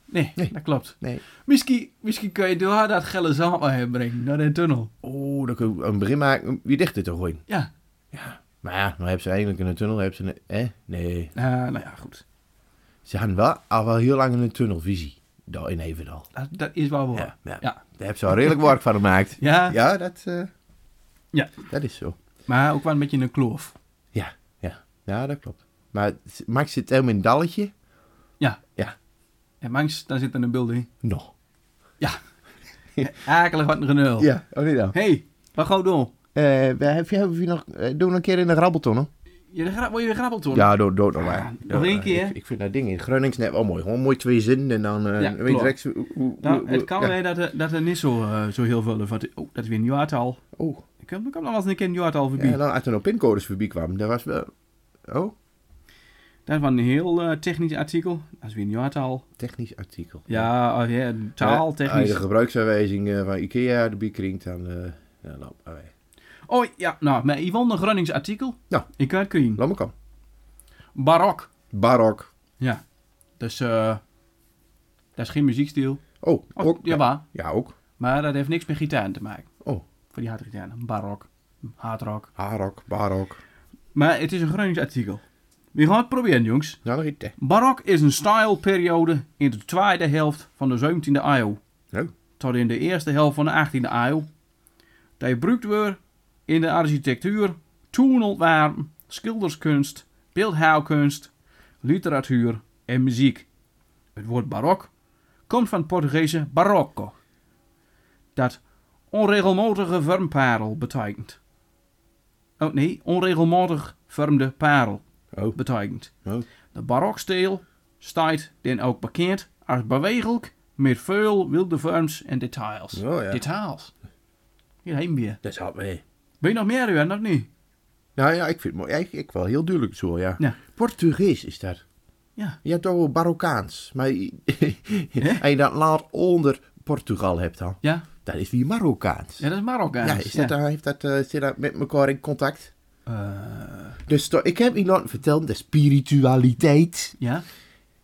Nee,
Nee.
dat klopt.
Nee.
Misschien, misschien kun je door dat gelle zand wel heen brengen, naar de tunnel.
Oh, dan kun je een begin maken. Wie dicht dit te gooien?
Ja.
Maar ja, nou hebben ze eigenlijk in een tunnel. Hebben ze een, hè? Nee.
Eh, nou ja, goed.
Ze hadden wel al wel heel lang in een tunnelvisie. Daar in Evendal.
Dat, dat is wel waar.
Ja, ja.
Ja.
Daar hebben ze al redelijk werk van gemaakt.
Ja,
Ja, dat, eh,
Ja.
dat is zo.
maar ook wel een beetje een kloof.
Ja, ja. Ja, dat klopt. Maar het- Max zit helemaal in een dalletje.
Ja.
Ja.
En mangs, daar zit er een building.
Nog.
Ja. Akelig wat een genul.
Ja, oh nee dan.
Hé, hey, wat gaan we doen?
Eh, we- heb je, heb je nog, eh, doen we een keer in de grabbelton,
Je gra- word je grabbeld hoor?
Ja, doe, doe het nog maar.
Ah,
Doe-
nog één keer.
Ik, ik vind dat ding in Groningen net wel mooi. Gewoon mooi twee zinnen en dan eh,
Ja,
weet je
klopt.
direct hoe- hoe-
Nou,
hoe-
het kan
ja.
zijn dat, er- dat er niet zo, eh, zo heel veel van... Oh, dat is weer een jaartal.
Oh,
Ik kom, ik kom nog wel eens een keer een jaartal
ja,
voorbij.
en dan als er nog pincodes voorbij kwamen, dat was wel... Oh,
Dat was een heel eh, technisch artikel. Dat is weer een jaartal.
technisch artikel.
Ja, oh, ja, een taal,
Ja, Als je de
technisch.
gebruiksaanwijzing eh, van Ikea erbij kringt, dan... eh ja, loop maar weg.
Oh ja, nou, maar Yvonne Grunnings artikel.
Nou.
Ik kan het kun
Laat maar komen.
Barok.
Barok.
Ja. Dus, eh... Dat is geen muziekstijl.
Oh,
Oh,
ook.
jawel.
Ja, ook.
Maar dat heeft niks met gitaar te maken.
Oh,
Voor die hardgitaren. Barok. Hardrock.
Harok, Barok.
Maar het is een Gronings artikel. We gaan het proberen, jongens.
Nou, nog iets. hè.
Barok is een stijlperiode in de tweede helft van de 17e eeuw.
Nou,
Tot in de eerste helft van de 18e eeuw. Die gebruikt werd in de architectuur, toenontwerp, schilderskunst, beeldhouwkunst, literatuur en muziek. Het woord barok komt van het Portugese barocco. Dat onregelmatige vormparel betekent. Oh nee, onregelmatig vormde parel
Oh,
betekent.
oh.
De barokstijl staat dan ook bekend als bewegelijk met veel wilde vorms en details.
Oh ja.
Details. Hier heen weer.
Dat zat mee.
Ben je nog meer uur, nog niet?
Nou ja, ik vind het mooi. Ik, ik wel heel duidelijk zo, ja.
Ja.
Portugees is dat.
Ja.
Je hebt toch wel Marokkaans. Maar en je dat laat onder Portugal hebt dan.
Ja,
Dat is weer Marokkaans.
ja dat is Marokkaans.
Ja, is dat,
ja.
daar- heeft dat, eh, zit dat met elkaar in contact?
Eh,
Dus toch- ik heb iemand verteld, de spiritualiteit.
ja.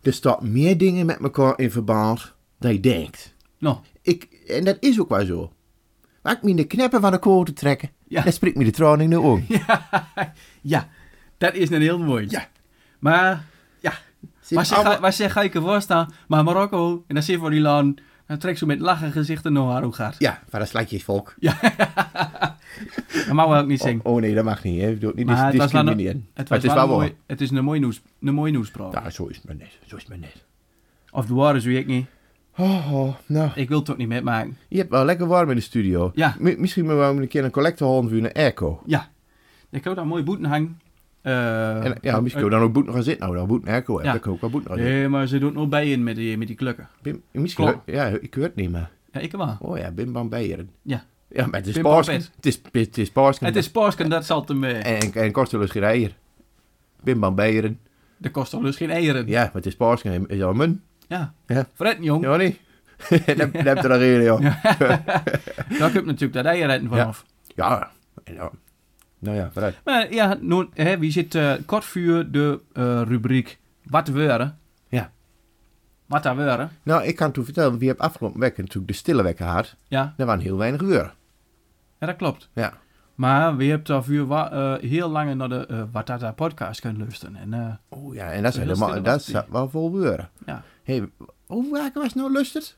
Er staan meer dingen met elkaar in verband dan je denkt.
Nou,
Ik, en dat is ook wel zo. Laat ik me in de kneppen van de koten trekken.
Ja.
En spreekt me de tranen in de ogen.
ja. Dat is een heel mooi.
Ja.
Maar, ja.
Zit
Maar ze,
allemaal-
ga, maar ze ga ik ervoor staan. Maar Marokko, en dan zit voor die laan. Dan trekt ze met lachen gezichten naar haar hoe gaat.
Ja, van dat slatjesvolk.
Dat mag we ook niet zingen.
Oh, oh nee, dat mag niet. Hè. Ik bedoel, Niet dis-
maar het was wel
discrimineren.
een, het
Maar
was wel een
waar.
mooi, het is een mooi, nieuws, een mooi nieuwspraat.
Ja, zo is het maar net. Zo is het maar net.
Of de waar is, weet ik niet.
Oh, oh, nou.
Ik wil het ook niet metmaken.
Je hebt wel lekker warm in de studio.
Ja.
Mi- misschien moeten we wel een keer een collector halen voor een airco.
Ja. Ik kan ook daar mooie boeten hangen. Eh,
En, ja, misschien kunnen we dan ook boet nog gaan zitten. Nou, dan boet een airco.
Ja.
Ja. Dan kan ik ook wel boet nog gaan
Nee, maar ze doet nog bij in met die, met die klukken.
zitten. Bim- Misschien,
Klopt.
ja, ik hoor het niet meer.
Ja, ik wel.
Oh ja, Bim Bam Beieren.
Ja.
Ja, maar het is
Bim
paars.
Bam
Het is, het is paars.
Het eh, is Porsken, dat zal te mee.
En, en Kortulus Gereier. Bim Bam Beieren.
Dat kost toch dus geen eieren.
Ja, maar het is paars. en Is al mun.
Ja.
Ja.
Fred, jong.
Ja, nee. Dat heb je er al in, joh. Ja.
Daar komt natuurlijk dat eieren vanaf.
En dan- Nou ja, vooruit.
Maar ja, nou, hè, wie zit eh, kort voor de eh, rubriek Wat weuren?
Ja.
Wat daar weuren?
Nou, ik kan toen vertellen, wie heb afgelopen week natuurlijk de stille wekken gehad.
Ja,
Daar waren heel weinig uur.
ja, dat klopt.
Ja.
Maar we hebben daarvoor wa- eh, heel lang naar de eh Wat daar daar podcast kunnen luisteren. En eh,
Oh ja, en dat zijn
Heel
helemaal,
stille
dat
was die.
zijn wel vol uren.
ja,
hey, hoe vaak was het nou lustig?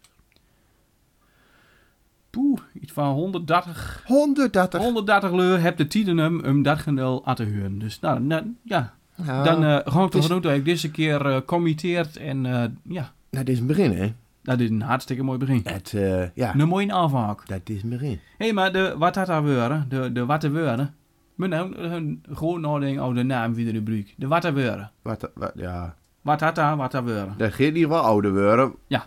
poeh, iets van 130,
130.
130 leur heb de tienen hem um, dat genul aan te huren. Dus nou, nou, ja,
Nou,
dan eh gewoon
is-
toch genoeg dat ik deze keer eh committeerd en eh, ja,
dat is een begin, hè?
dat is een hartstikke mooi begin.
Dat, eh, ja,
Een mooie aanvang.
dat is een begin.
Hé, hey, maar de wat had daar weuren, de, de wat er weuren, moet nou hun- gewoon nadenken over de naam van de rubriek. De wat er weuren.
Wat, wat, ja.
Wat had daar, wat daar weuren.
Dat ging in ieder geval oude weuren.
Ja.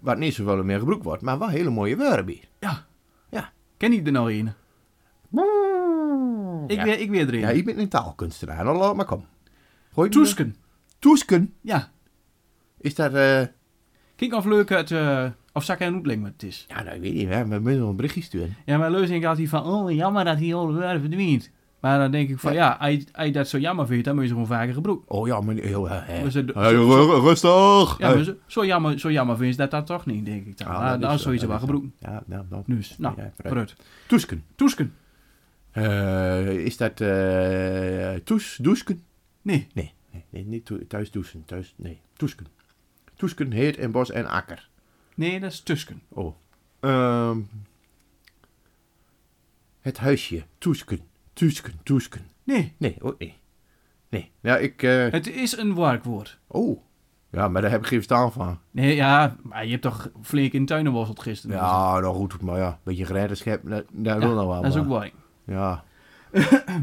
Wat niet zoveel meer gebruikt wordt, maar wel hele mooie weuren bij.
Ja.
Ja.
Ken ik er nou een? Ik,
Ja.
weer, ik weer erin.
Ja, je bent een taalkunstenaar, nou laat maar kom. Gooi die-
Toesken.
Toesken.
Ja.
Is dat, eh...
Kijk of leuk het, eh, of zak en hoedling wat het is.
Ja, nou, ik weet niet, hè. We moeten wel een berichtje sturen.
Ja, maar Leus denkt altijd van, oh jammer dat die oude weuren verdwijnt. Maar dan denk ik van, ja, als je- als je dat zo jammer vindt, dan moet je ze gewoon vaker gebruiken.
Oh ja, meneer. heel, eh, eh.
Maar ze-
Hey, ru- rustig!
Ja, maar zo, zo jammer, zo jammer vind je dat dat toch niet, denk ik dan.
Ah,
maar,
dat
dan
is-
zou je ze
dat
wel
is-
gebruiken.
Ja, nou, dan.
Dus, nou,
Ja, vooruit.
vooruit.
Toesken.
Toesken.
Eh, is dat eh toes, doesken?
Nee.
Nee, nee, nee, niet toe- thuis douchen. Thuis, nee, toesken. Toesken, heet en bos en akker.
Nee, dat is Tusken.
Oh. Ehm, het huisje. Toesken. Toesken, toesken.
Nee,
Nee, oh nee. Nee, ja, ik... eh,
het is een werkwoord.
Oh. Ja, maar daar heb ik geen verstand van.
Nee, ja, maar je hebt toch flink in tuinen worsteld gisteren.
Ja, nou goed, maar ja, een beetje geredderschap, dat, dat
Dus- Ja,
wil nou wel.
Dat is
maar.
ook waar.
Ja,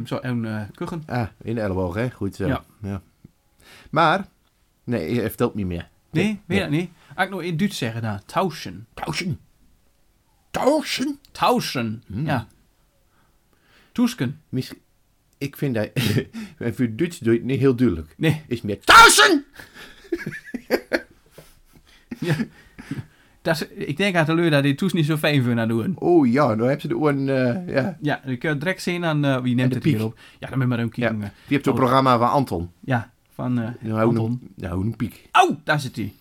Zo, en eh kuchen.
ah, in de elleboog, hè? Goed zo.
Ja.
Ja. Maar, nee, hij vertelt niet meer.
Nee, weet dat niet. Als ik nog in Duits zeggen dan. Tauschen.
Tauschen. Tauschen?
Tauschen.
Hmm.
Ja. Toesken.
Misschien, ik vind dat, voor Duits doe je het niet heel duidelijk.
Nee,
Is meer tauschen!
dat is, ik denk aan de leur dat die Toes niet zo fijn vindt aan doen.
Oh ja, nou heb ze de oren, eh ja.
Ja, dan kun je direct zien aan eh, wie
Aan
neemt
de
het
piek.
hier op. Ja, dan ben je maar een
ja.
kijken.
Die
eh.
hebt zo'n
Oh.
programma van Anton.
Ja, van eh
Nou, hou
Anton.
een, nou, een piek.
Au, daar zit hij.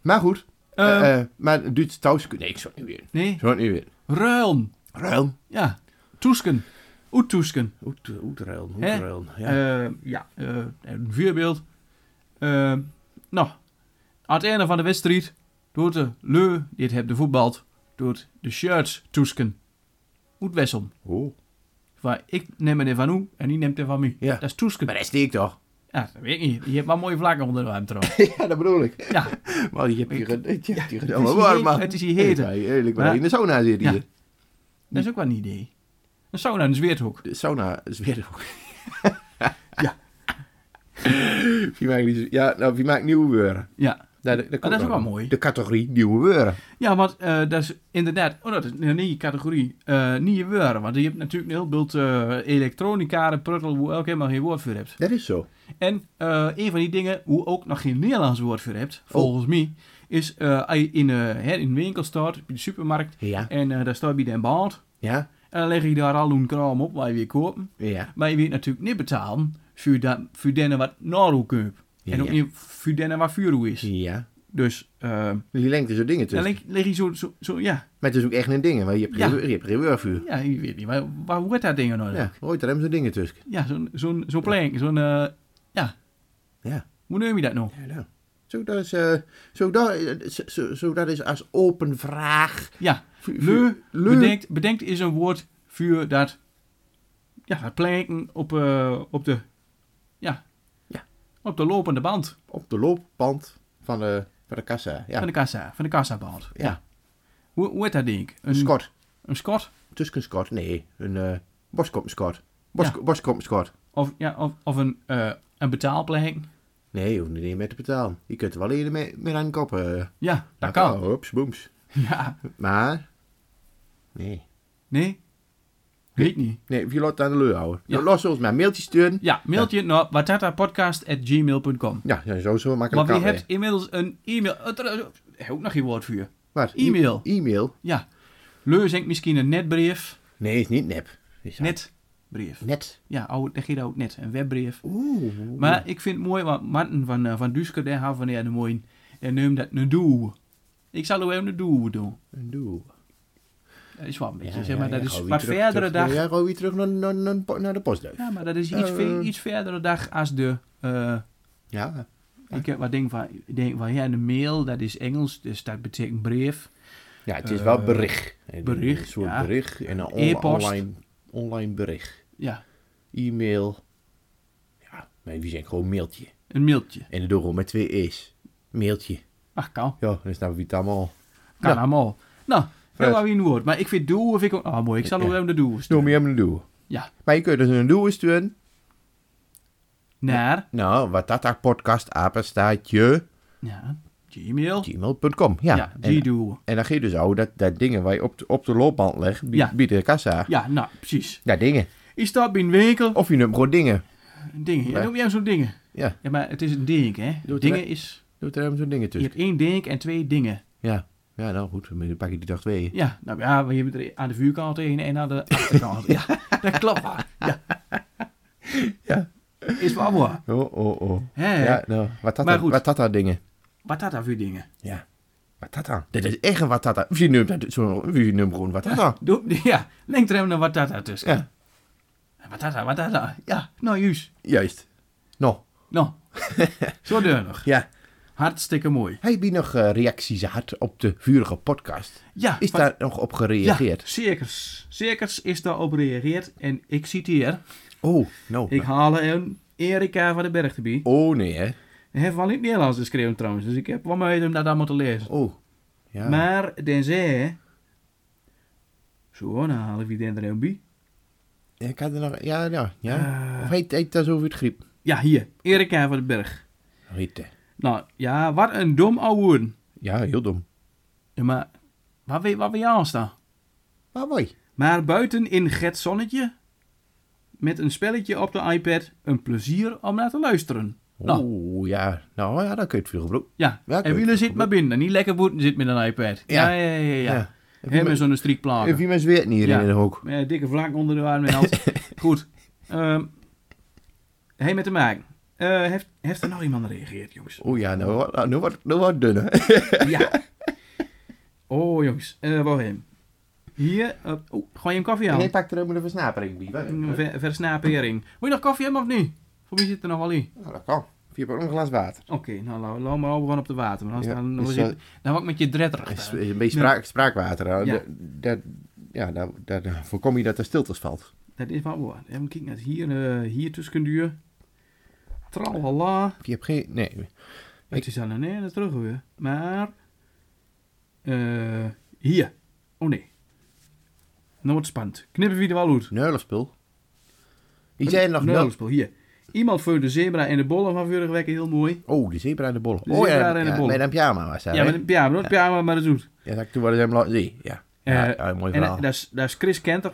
Maar goed,
Eh.
eh, eh, maar Duits tauschen, nee, ik zou het niet weer.
Nee,
Zou het niet weer.
ruilen.
Ruil.
Ja, toesken. Oet toesken.
Oet, oet ruil, oet
Hè?
ruil. Ja.
Ja, ja eh, een voorbeeld. Eh, nou, aan het einde van de wedstrijd doet de leu, dit heb de voetbald, doet de shirts toesken. Moet wessom.
oh.
Waar ik neem er van u en die neemt er van mij.
Ja.
Dat is toesken.
Maar dat steekt toch?
Ja, dat weet ik niet. Je hebt maar mooie vlakken onder de ruimte trouwens.
ja, dat bedoel ik.
Ja,
Maar je hebt hier een... Je hebt hier een...
hier heet- het is hier hete.
Eerlijk, maar
Maar-
in de sauna zit
Ja.
hier.
dat is ook wel een idee. Een sauna en een zweerthoek.
De sauna is weer ook. ja. Wie maakt, niet- ja, nou, wie maakt nieuw uren?
Ja.
Nou, dat,
Maar dat is ook wel mooi.
De categorie nieuwe woorden.
Ja, want eh, dat is inderdaad, oh, dat is een nieuwe categorie, eh nieuwe woorden. Want je hebt natuurlijk een heel beeld eh, elektronica, pruttel, hoe elk helemaal geen woord voor hebt.
Dat is zo.
En eh, een van die dingen, hoe ook nog geen Nederlands woord voor hebt,
Oh.
volgens mij, is eh, als je in, eh, hè, in een winkel staat, bij de supermarkt,
Ja.
en eh, daar staat bij de band,
Ja?
en dan leg je daar al een kraam op waar je weer kopen.
Ja.
Maar je weet natuurlijk niet betalen voor, dat, voor denne wat Naru koopt. En ook
Ja.
niet voor denne wat Furu is.
Ja.
Dus, eh
Dus die lengte zo dingen
dan
tussen.
leg, leg je zo, zo, zo, ja,
Maar het is ook echt een ding, want je hebt
Ja.
geen je hebt geen weervuur.
ja, ik weet niet, waar, waar hoort dat ding nou?
Ja, ooit daar hebben ze dingen tussen.
Ja, zo'n zo'n zo'n plank, zo'n, eh, ja,
Ja.
hoe noem je dat nou?
ja nou. Zo, dat is, eh, zo, dat, zo- zo, zo, dat is als open vraag.
Ja,
Vu-
leu,
vu- leu.
Bedenkt, bedenkt is een woord voor dat, ja, dat planken op, eh, op de, ja,
Ja.
op de lopende band
Op de loopband van de, van de kassa. Ja,
van de kassa, van de kassaband.
Ja.
Hoe, hoe heet dat ding? Een
skort.
Een skort?
Tuskenskort, nee. Een eh boskoppenskort.
Ja.
Boskoppenskort.
Of, ja, of, of een, eh een betaalplank.
Nee, je hoeft niet meer te betalen. Je kunt er wel eerder mee, mee aan de kop. eh,
Ja, dat
maken.
kan.
Hups, boems.
Ja,
Maar, nee.
nee? Weet niet.
Nee, je laat het aan de leur houden.
Ja.
Los ons maar een mailtje sturen.
Ja, mailt je naar watatapodcast.gmail.com.
Ja, ja, zo zo
Maar
makkelijk
wie
kan het,
hebt inmiddels een e-mail... eh, tr- eh, Ook nog geen woord voor je.
hè. Wat? E-
e-mail.
E-mail?
Ja. Leu zendt misschien een netbrief.
Nee, is niet nep. Is dat-
Netbrief.
Net.
Ja, oude, dat geeft ook net. Een webbrief.
Oeh.
Maar ik vind het mooi, want Martin van, eh, van Duske, daar had van ja, de mooie... En noemt dat een doel. Ik zal ook even een doel doen.
Een doel.
Dat is wel een beetje,
Ja,
zeg maar,
ja,
dat
ja,
is
gauw
wat
weer terug-
verdere
terug-
dag.
Ja, gewoon weer terug naar, naar, naar, po- naar de postduif.
Ja, maar dat is iets,
Eh.
ve- iets verdere dag als de... eh,
Ja.
ik heb wat ding van, ik denk van, ja, de mail, dat is Engels, dus dat betekent brief.
Ja, het is
Eh,
wel bericht.
bericht,
Een soort
ja.
bericht. En een on-
E-post.
online, online bericht.
Ja,
E-mail. Ja, maar wie zijn gewoon mailtje.
een mailtje.
En de doorgaan met twee e's. Mailtje.
Ach, kan.
Ja, dan snappen we het allemaal.
Kan
Ja.
allemaal. Nou,
Fred.
dat was weer een woord. Maar ik vind doel, vind ik ook... Ah, mooi. Ik zal ook even de doel
Noem
sturen.
je hem een doel.
Ja.
Maar je kunt dus een doel sturen.
Naar...
Nou, wat dat daar podcast apenstaatje
Ja, Gmail.
gmail.com. Ja,
Ja,
en,
Gdoel.
en dan geef je dus ook dat, dat dingen waar je op de, op de loopband legt, bij,
Ja.
bij de kassa.
Ja, nou, precies.
Ja, dingen.
Is staat bij een winkel.
Of je noemt gewoon dingen.
Dingen. Ja,
Ja.
noem jij zo'n dingen?
Ja.
Ja, maar het is een ding, hè?
Doe het
dingen
wel.
is...
Doe er even zo'n dingen
Je
tussen.
hebt één ding en twee dingen.
Ja. Ja, nou goed. Dan pak je die dag twee.
Ja, nou ja, we hebben er aan de vuurkant heen en aan de achterkant. ja, dat klopt wel. Ja.
Ja.
Is wel waar.
Oh, oh, oh.
Hè?
Ja, nou, wat dat
Maar
dan?
goed.
Wat dat dan dingen?
Wat had dat voor dingen?
Ja. Wat dat dan? Dit is echt een wat dat dan. Wie noemt dat? Zo'n wie noemt gewoon wat dat dan?
Doe, ja, lengtrem naar wat dat daar tussen.
Ja.
Wat dat, daar, wat dat daar. Ja, nou juist.
Juist. Nou.
Nou, zo deurig.
Ja.
Hartstikke mooi.
Heb je nog eh, reacties gehad op de vurige podcast?
Ja,
Is
wat-
daar nog op gereageerd?
Ja, zekers. Zekers is daarop gereageerd. En ik citeer.
Oh, nou.
Ik haal een Erika van de Berg te bij.
Oh, nee, hè?
Hij heeft wel in het Nederlands geschreven trouwens. Dus ik heb wel moeite om dat allemaal te lezen.
Oh. Ja.
Maar tenzij... Zo, dan halen we die er een bij.
Ik had er nog... Ja, ja, ja.
Eh.
Of heet, heet dat zo over het griep?
Ja, hier. Erika van de Berg.
Rieten.
Nou, ja, wat een dom ouwe.
Ja, heel dom.
Ja, maar... Waar wil waar wil je aan staan?
Maar mooi.
Maar buiten in Gert Zonnetje... Met een spelletje op de iPad... Een plezier om naar te luisteren.
Oh.
Nou,
Oeh, ja. Nou, ja, dan kun je het veel gebruiken.
Ja,
Ja,
en
klopt.
Wielen zit maar binnen. Niet lekker boeten zit met een iPad. Ja,
Ja.
ja, ja. ja,
Ja.
Hem en zo'n
En
strikplaat.
wie mensen weer niet hier
Ja.
in de hoek.
Met een dikke vlak onder de arm en alles. Goed. Ehm hey, met te maken. Eh, heeft, heeft er nou iemand gereageerd, jongens?
Oh ja, nou, wordt- nou wordt nou wordt het dunner.
Ja. Oh, jongens. eh waar hem? Hier. eh, oh, gooi je hem koffie aan?
Nee, pak er helemaal een versnapering bij.
Een ver, versnapering. Moet je nog koffie hebben of niet? Voor wie zit er nog wel in?
Nou, dat kan. Of je hebt ook nog een glas water.
Oké, nou, laat, laat maar over gewoon op de water. Maar anders
Ja,
dan, dan,
is
word je-
dat-
dan word ik met je dretter
Het is
achter.
een beetje
Nee.
spraak, spraakwater. hè.
Ja.
Dat, dat, ja, daar, daar voorkom je dat er stiltes valt.
Dat is wel waar. Even kijken naar hier, eh, hier tussen duur. Tralala.
Of je hebt geen... Nee.
Het is aan een ene terug weer. Maar. eh, hier. Oh nee. Noordspant. Knippen wie er wel uit.
Neulenspul. Die zijn nog nul.
Oh, Nederlands spul. Hier. Iemand voor de zebra en de bollen van vorige week heel mooi.
Oh, die zebra in de bollen.
De
oh,
zebra
ja,
en de
ja,
bollen.
Met een pyjama was dat,
Ja,
hè?
met een pyjama, met een pyjama, maar dat doet.
Ja, dat ik toen wel eens hem laten zien. Ja, ja,
Eh,
ja, mooi
en
verhaal.
eh, dat is, dat is Chris Kenter.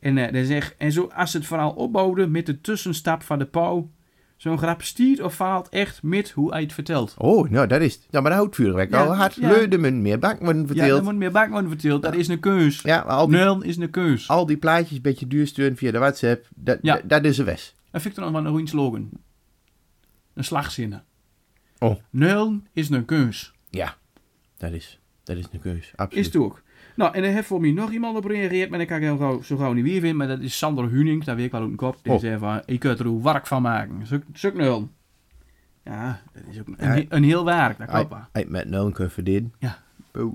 En, eh, die zegt, en zo als ze het verhaal opbouwde met de tussenstap van de pauw, zo'n grap stiert of faalt echt met hoe hij het vertelt.
Oh, nou, dat is het. Ja, maar dat houdt vuurwerk
Ja,
al hard.
ja.
Leuden men meer bak worden
Ja, dat
verteeld.
moet meer Bakman verteld. Dat is een keus.
Ja, maar al die,
Nul is een keus.
al die plaatjes een beetje duursturen via de WhatsApp, dat,
Ja.
dat, dat is een wes.
Dat vind ik dan nog wel een goeie slogan. Een slagzinnen.
Oh.
Nul is een keus.
Ja, dat is, dat is een keus. Absoluut.
Is het ook. Nou, en er heeft voor mij nog iemand op reageerd, maar dat kan ik heel gauw, zo gauw niet weer vinden. Maar dat is Sander Huning, daar weet ik wel uit mijn kop. Die
Oh.
zei van, ik kan er een wark van maken. Zoek- Zoek nul. Ja, dat is ook een,
Ja.
een heel werk, dat klopt
Hij-
wel.
hij met nul kunnen verdienen.
Ja.
Boe.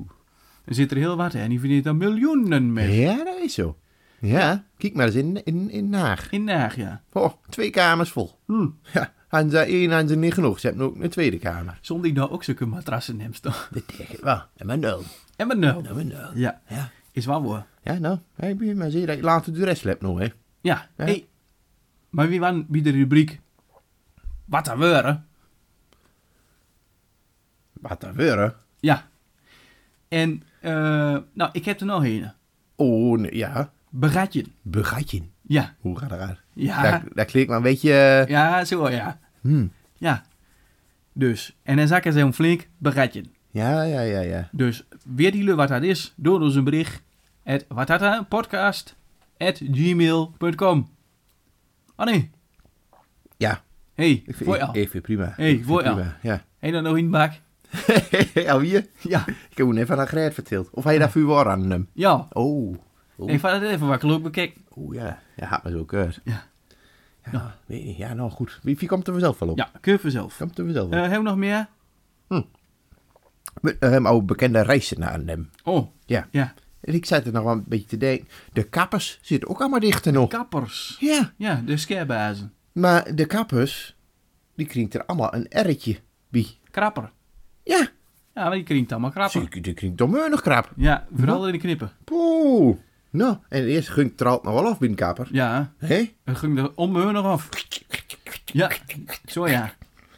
Er zit er heel wat hè, en die verdient daar miljoenen mee.
Ja, dat is zo. Ja, kijk maar eens in, in, in Naag.
In Naag, ja.
Oh, twee kamers vol.
Hm.
Ja, hadden ze één, hadden ze niet genoeg. Ze hebben ook een tweede kamer.
Zonder ik nou ook zulke matrassen neemt toch?
Dat denk ik wel. En met nul.
En met nul.
Nou, met nul.
Ja.
Ja.
Is wel hoor.
Ja, nou. Hey, moet je maar zie dat je later de rest hebt nog, hè.
Ja,
Ja.
hey. maar wie waren bij de rubriek? Wat er weuren?
Wat dan weer, hè?
Ja. En, eh, nou, ik heb er nog een.
Oh, nee, ja.
Begatje.
Begatje.
Ja,
Hoe gaat dat aan?
ja,
Daar, daar klinkt maar een beetje... eh,
ja, zo ja.
hmm.
Ja. Dus, en dan zakken ze hem flink begatje.
Ja, ja, ja, ja.
Dus, weer die lu wat dat is, door ons een bericht. At watata podcast at gmail.com. Ah nee,
Ja,
hey,
ik vind,
voor
ik,
al.
ik vind prima.
Hey,
Ik vind
voor jou.
prima, Ja.
Hé, dan nog in de bak.
Al hier?
Ja,
Ik heb hem even aan Gret verteld. Of hij daar vuur wel aan hem.
ja.
Oh. Oh.
Ik vat het even wat kloek bekijken.
Oh ja, ja, had me zo keus.
Ja.
Ja,
Nou.
weet niet. ja, nou goed. Wie, wie komt er vanzelf wel op?
Ja, kun je vanzelf.
Komt er vanzelf wel
Eh
op.
hebben we nog meer?
Met hem oude ehm, oh, bekende reizen naar hem.
Oh,
Ja.
ja.
En ik zat er nog wel een beetje te denken. De kappers zitten ook allemaal dichter nog.
Kappers.
ja.
Ja, de scarebazen.
Maar de kappers, die kringt er allemaal een erretje bij.
Krapper.
Ja.
Ja, maar die kringt allemaal krapper.
Zie, die kringt dommeur nog krap.
Ja, vooral in de knippen.
Poeh. Nou, en eerst gunkt het er altijd nog wel af bij een kapper.
Ja,
Hé?
het ging er om hun nog af. Ja, zo ja.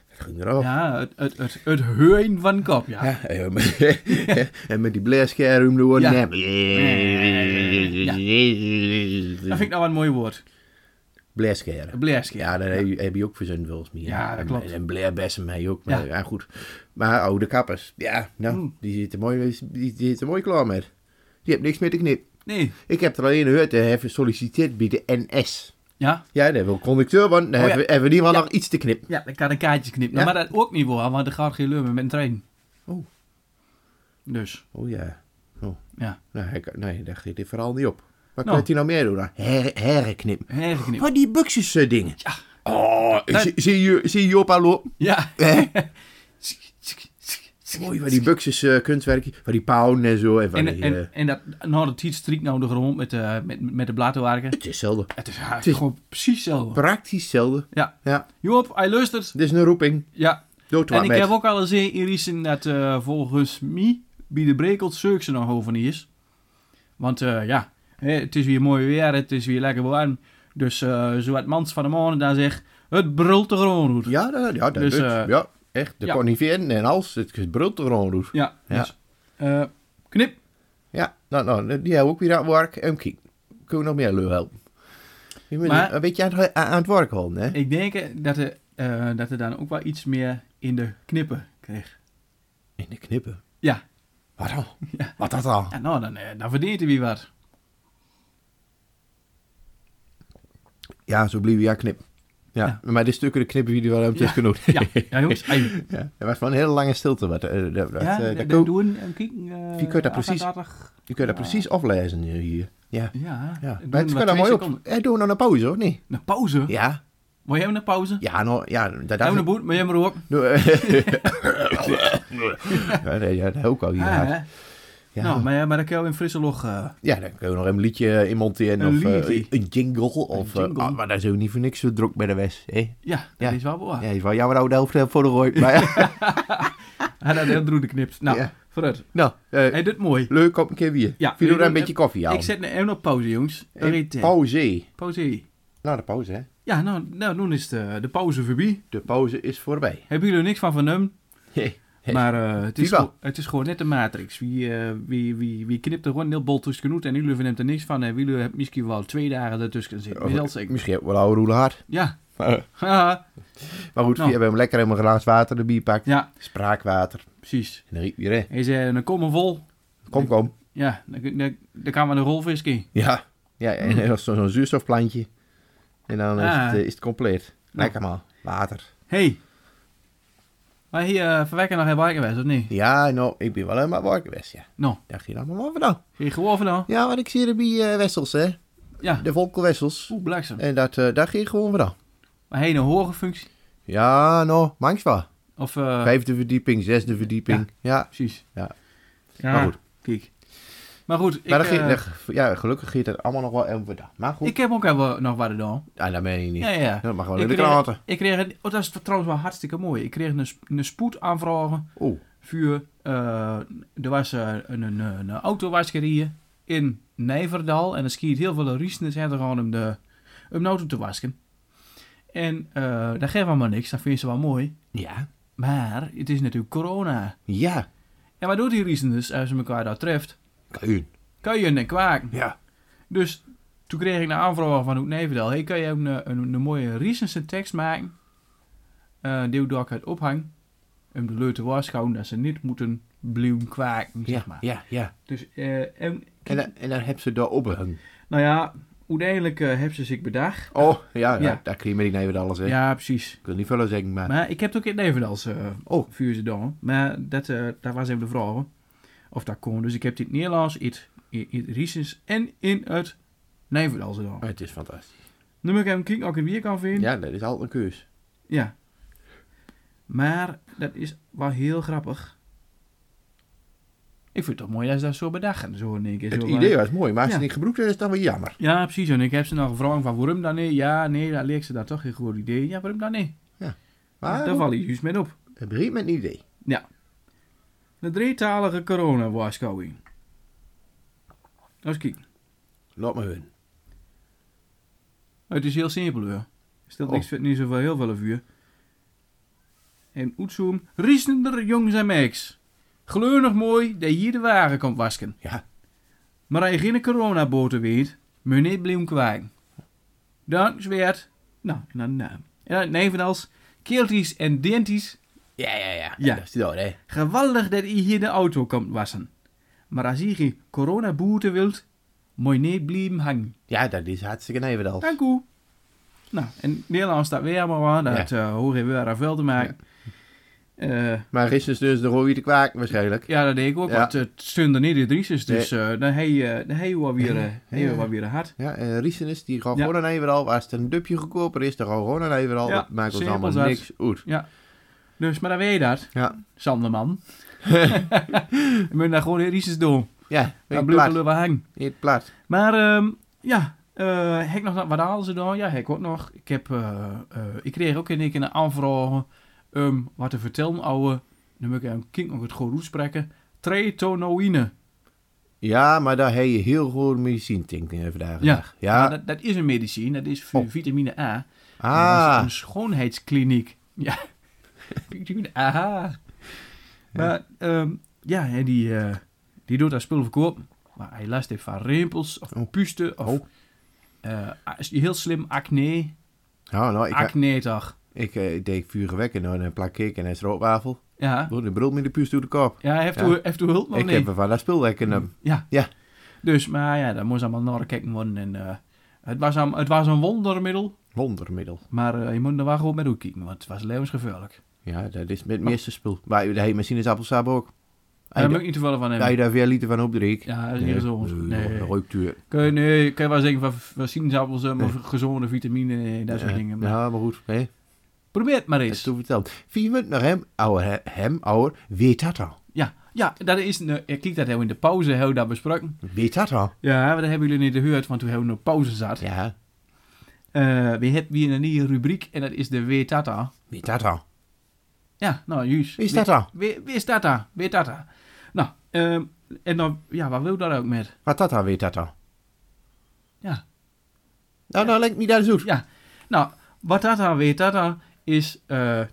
Het ging eraf.
Ja, het, het, het, het heun van kop, ja.
Ja, en met- en met die blaasscherm door.
Ja.
Ja.
Ja. Dat vind ik nou wel een mooi woord.
Blaasscherm.
Blesk, ja.
Ja, daar heb je- heb je ook verzin volgens mij. hè.
Ja, dat
En-
klopt.
En blaarbessen mij ook. Maar
Ja.
ja. goed. Maar oude kappers. Ja, nou,
Mm.
die zitten mooi, die zitten mooi klaar met. Die hebben niks meer te knip.
Nee,
Ik heb er alleen gehoord, hij heeft gesolliciteerd bij de NS.
ja.
Ja, daar wil conducteur, want dan
Oh, ja.
hebben, hebben we in ieder geval
Ja.
nog iets te knip.
Ja, dan kan een kaartjes knippen.
Ja.
Maar dat ook niet voor, want er gaat geen lummen met een trein.
Oh.
Dus,
Oh ja. Oh.
ja.
Nou, hij kan- nee, daar geeft dit verhaal niet op. Wat
Nou.
kan hij nou meer doen? dan? Her, herrenknip.
Hergenknippen.
Maar die buxus eh, dingen.
Ja.
Oh,
Dat-
zie- zie je, zie je op lopen?
Ja.
Mooi, waar die buxus eh, kunstwerken, waar die pauwen en zo. En van
En,
die, eh,
en, en dat, nou, dat tiet strikt nou de grond met, eh met, met de bladenwerken.
het is hetzelfde.
Het is, ja, het is gewoon precies zo.
Praktisch hetzelfde.
Ja.
Ja,
Joop, hij luistert.
dit is een roeping.
Ja.
Dood
En
wat
ik
met.
heb ook al eens in Irisen dat eh, volgens mij bij de Brekelt zulks er nog over niet is. Want eh, ja, hè, het is weer mooi weer, het is weer lekker warm. Dus eh, zo wat mans van de morgen daar zegt, het brult de groenroet.
Ja, dat, ja, dat
Dus,
doet.
eh,
ja, echt. De
ja.
coniferen en alles. Het brult er gewoon door.
Ja,
Ja.
dus, eh, knip.
Ja, nou, nou, die hebben ook weer aan het werk. En kijk, kunnen we nog meer lui helpen. Je moet
Maar-
een beetje aan het, aan het werk houden, hè?
Ik denk eh, dat er, eh, dat er dan ook wel iets meer in de knippen kreeg.
In de knippen.
Ja,
Wat dan? Wat dat dan?
ja nou, dan, eh, dan verdient hij weer wat.
Ja, zo bleef je ja knip. Ja, maar de stukken de knippen die er wel hebben, het is genoeg.
Ja, ja jongens. ai.
Ja, er was van een hele lange stilte. Wat, eh, dat, dat,
Ja,
eh,
dat
dat kun-
doen en kijken. eh,
Wie kun je dat precies-
88.
je kunt dat precies aflezen hier. Ja.
Ja,
ja.
doen
Maar het
we
kan daar
twee
mooi op.
seconden.
Eh, doen we nou een pauze, hoor? Nee.
Een pauze?
Ja.
Wil jij hem een pauze?
Ja, nou, ja. Dat, dat,
Hebben we een boet, maar jij maar ook.
Nou, eh, ja, nee, ja, dat ook al hier.
Ah, hè?
ja,
Nou, maar, ja, maar dan kan je in frisse log. eh,
ja, dan kunnen we nog een liedje in monteren.
Een
Of eh,
liedje.
een jingle. Of, eh,
jingle.
ah, maar daar is ook niet voor niks zo druk bij de West. Hè?
ja, dat
Ja.
is wel waar.
Ja, je is wel jammer dat we nou de helft hebben voor de rooi.
Hij
Maar eh, ja,
had heel droede knipt. Nou,
Ja.
vooruit.
nou, eh,
Hij doet mooi.
leuk, kom een keer weer.
Ja,
Vind je
wil
er
je
een
doen-
beetje koffie aan?
Ik zet hem even op pauze, jongens.
Hey,
Ritten.
pauze.
eh, Pauze.
Na de pauze, hè?
Ja, nou, nou nu is de, de pauze voorbij.
De pauze is voorbij.
Hebben jullie er niks van vernomen?
Hey, hey.
Maar eh, het, is
Viva.
gewoon- het is gewoon net de matrix. Wie, eh, wie, wie, wie knipt er gewoon een heel bol tussenuit en jullie verneemt er niks van. En jullie hebben misschien wel twee dagen ertussen zitten. Weet je wel zeker.
Misschien ook wel oude roelen hard.
Ja.
Eh.
Haha.
Maar goed,
Nou.
we hebben hem lekker helemaal glaas water erbij gepakt.
ja,
Spraakwater.
precies.
En dan riep weer, hè.
Hij zei, dan komen we vol.
Kom, kom.
Ja, dan, dan, dan gaan we een rolvis in.
Ja. Ja, en dan was zo- zo'n zuurstofplantje. En dan is,
Mm. Ah.
het, eh, is het compleet. Lekker man. Water.
Hey. Maar hier eh verwekken nog even geweest, of niet?
Ja, nou, ik ben wel helemaal waar geweest, ja.
Nou,
Dacht je dan, maar wat dan?
zie je gewoon vandaan?
Ja, want ik zie er bij eh, Wessels, hè.
Ja.
De Volkelwessels.
Oeh, bliksem.
En dat, eh daar ging gewoon vandaan.
Maar hij een hoge functie.
Ja, nou, manks wel.
Of, eh,
Vijfde verdieping, zesde verdieping. Ja,
precies.
Ja.
Ja,
Maar goed.
Kijk. Maar goed, ik,
maar dat
eh,
ging- dat- ja, gelukkig ging het allemaal nog wel even vandaan. Maar goed,
ik heb ook even nog wat gedaan.
ah, dat meen je niet.
Ja, ja.
Dat mag wel
Ik
in de
kreeg-
kranten.
Ik kreeg, een- oh, dat is trouwens wel hartstikke mooi. Ik kreeg een, sp- een spoedaanvraag
Oeh,
voor, eh, er was eh, een, een, een auto was gereden in Nijverdal en er schiet heel veel riesners zijn er gewoon om de, om de auto te wasken. En eh dat geeft allemaal niks, dat vinden ze wel mooi.
ja.
Maar het is natuurlijk corona.
Ja,
En wat doet die riesners als ze elkaar daar treft?
Kuien.
Kan je een kwaak.
Ja.
Dus toen kreeg ik een aanvraag van Hoek Nevendal. Hey, kan je ook een, een, een mooie Riesense tekst maken? Eh die ik uit ophang. Om de leuten waarschuwen dat ze niet moeten blijven kwaken,
Ja,
zeg maar.
ja, ja.
Dus, eh, en,
En, dan- en dan heb ze daar opgehangen.
nou ja, uiteindelijk eh hebben ze zich bedacht.
Oh, ja,
Ja.
daar- daar kreeg je niet even alles, hè.
Ja, precies.
Ik wil niet veel zeggen, maar...
Maar ik heb het ook in Nevendals eh
Oh.
vuur ze dan. Maar dat, eh daar was even de vraag hoor. of dat kon. Dus ik heb dit in het Nederlands, in het- in in het Riesens en in het Nijverdals dan.
Het is fantastisch.
Nu moet ik even kijken of ik het weer kan vinden.
Ja, dat is altijd een keus.
Ja. Maar dat is wel heel grappig. Ik vind het toch mooi dat ze dat zo bedachten. Zo in één keer.
Het
zo
idee
van-
was mooi, maar als
Ja.
het niet gebruikt werd, is het dan wel jammer.
Ja, precies. En ik heb ze dan gevraagd van waarom dan niet? Ja, nee, dat leek ze daar toch geen goed idee. Ja, waarom dan niet?
Maar
daar val je juist mee op.
het begint met een idee.
De drietalige corona-waarschuwing. Als kijk.
Laat me hun.
Oh, Het is heel simpel hoor. Stelt
Oh.
niks niet zoveel heel veel vuur. En Oetsoem, riesender jongens en meks. Gleunig mooi dat hier de wagen komt wasken.
Ja.
Maar als je geen coronaboten weet, moet je niet blijven kwaken. Dan zweert, nou, en dan naam. En dan evenals, keeltjes en dentisch,
Ja, ja, ja.
Ja.
Dat is het al, hè.
geweldig dat je hier de auto komt wassen. Maar als je geen coronaboeten wilt, moet je niet blijven hangen.
Ja, dat is hartstikke even al.
Dank u. Nou, en Nederland staat weer maar aan. Dat eh hoor je weer aan vuil te maken. Ja.
Maar gisteren is dus de rode te kwaak waarschijnlijk.
ja, dat deed ik ook.
Ja.
Want het stond er niet in Driesus. Dus eh dan heb je, eh, dan heb je wel weer, eh, heb je wel weer hard.
Ja, en Riesenis, die gaan
Ja.
gewoon naar Everal. Als het een dubje goedkoper is, dan gaan we gewoon naar Everal.
Ja,
dat maakt ons
simpel
allemaal
zat.
niks uit.
Dus, maar dan weet je dat,
Ja,
Sanderman. Je moet daar gewoon in Driesus doen.
ja in
Dan
het
blijven
plat.
we hangen.
In het plat.
Maar ehm, ja, eh heb ik nog wat- wat halen ze dan? Ja, heb ik ook nog. Ik, heb, eh, eh, ik kreeg ook in één keer een aanvraag ehm, wat te vertellen, ouwe. Dan moet ik hem kind nog het goed uitspreken. Tretonoïne.
Ja, maar daar heb je heel goed medicijn denken eh, vandaag.
Ja.
ja.
Nou, dat, dat is een medicijn, dat is voor
Oh.
vitamine A. Dat is dus
ah,
een schoonheidskliniek. Ja, vitamine A. Maar ehm, ja, hè, die, eh, die doet dat spul verkopen. Maar hij last heeft van rimpels of
Oh.
puisten of
Oh.
eh, a- heel slim acne.
nou, nou, ik,
Acne toch?
ik eh, deed vuur weg en dan een plak cake en een stroopwafel.
Ja.
Doe de brul met de puust door de kop.
Ja, heeft,
Ja.
U, heeft u hulp nog
ik
niet?
heb er van dat spul wekken.
Ja.
Ja.
Dus, maar ja, dat moest allemaal naar kijken worden. En, eh, het, was een, het was een wondermiddel,
Wondermiddel.
maar eh, je moet er wel goed mee kijken, want het was levensgevaarlijk.
Ja, dat is met
Oh.
het meeste spul. Maar daar heb je mijn sinaasappelsap ook.
Daar
Hij
moet ik niet te veel van
Hij
hebben.
daar weer liter van op drinken.
Ja, dat is niet gezond. Nee.
Rookt u.
Kun je, nee, kun je wel zeggen van, van sinaasappels, eh, maar gezonde vitamine en dat soort
Eh,
dingen. Maar
Ja, maar goed. Hè?
Probeer het maar
Dat is
eens.
toen verteld. Vier minuten naar hem, ouwe, hè, hem, ouwe, weet dat al.
Ja, ja, dat is, een- eh, ik liet dat heel in de pauze, heel dat besproken.
Weet dat al.
Ja, maar dat hebben jullie niet gehoord, want toen hebben we een pauze zat.
Ja,
Eh, we hebben hier een nieuwe rubriek en dat is de Weet Tata.
weet dat al.
Ja, nou juist.
Wie is dat al?
Weer, weer staat daar, weer staat daar. Nou, ehm, en dan, ja, wat wil dat ook met?
Wat dat al, weet dat al.
Ja,
Nou, nou lijkt me dat zoet.
ja. Nou, Wat dat dan weet, dat dan is eh, eh,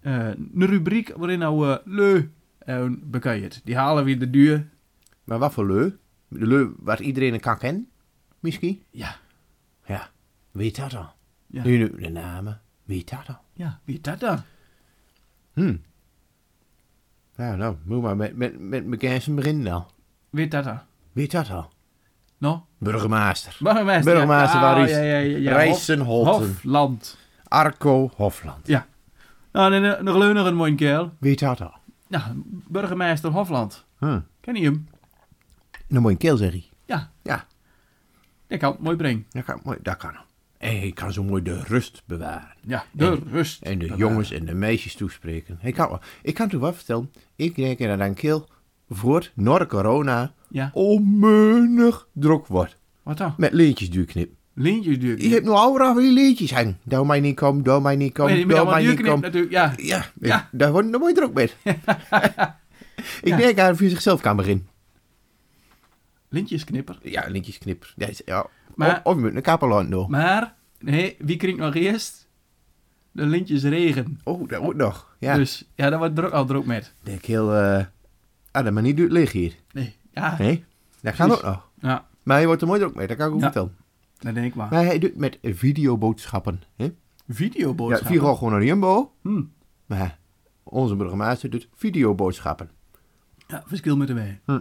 een rubriek waarin nou eh, leu en bekijkt. Die halen we in de duur.
Maar wat voor leu? De leu wat iedereen kan kennen? Misschien?
Ja,
Ja. Weet dat dan?
Ja.
Nu nu de namen. Weet dat dan?
ja, wie dat dan?
Hm. Nou, nou, moet maar met, met, met McKensen beginnen dan.
Weet dat dan?
Weet dat al?
Nou,
Burgemeester.
burgemeester.
Burgemeester, waar is-
Ah, ja, ja, ja, ja.
Rijsenholten.
Hof- Hofland.
Arco Hofland.
Ja. Nou, en een, een leuner een mooie kerel.
Weet dat al?
Nou, burgemeester Hofland.
Hm.
Ken je hem?
Dan moet je een keel zeggen.
Ja,
Ja,
dat kan. Mooi brengen.
dat kan, mooi, dat kan hem. En hij kan zo mooi de rust bewaren.
Ja, de rust.
En de
bewaren.
jongens en de meisjes toespreken. Hij kan, wel- ik kan het u wel vertellen. Ik denk dat een keel voort, na de corona,
eh, Ja,
onmenig druk wordt.
wat dan?
Met lintjes duurknip.
Lintjes duurknip.
Je hebt nou overal weer lintjes hangen. Doe mij niet komen, doe mij niet
Oh, ja,
komen,
die moet
doe
allemaal
mij niet
duurknip
komen.
natuurlijk. Ja,
Ja,
Ja.
ik- daar wordt daar word je druk mee. ik denk dat hij voor zichzelf kan beginnen.
lintjesknipper.
Ja, lintjesknip. Ja, is- ja.
Maar-
of, of je moet een kappelaan doen.
Maar, nee, wie kringt nog eerst? De lintjes regen.
Oh, dat wordt nog. Ja,
Dus ja, daar wordt druk, al druk met.
denk ik heel... eh ah, de manier duurt liggen hier.
Nee, ja.
Nee, dat gaat ook
Precies.
nog.
Ja,
Maar hij wordt er mooi druk mee, dat kan ik ook
Ja.
vertellen.
dat denk ik maar.
Maar hij doet met videoboodschappen. Hè? Ja,
Videoboodschappen.
Viro gewoon naar Jumbo.
Hm.
Maar onze burgemeester doet videoboodschappen.
Ja, verschil met de wij.
Ik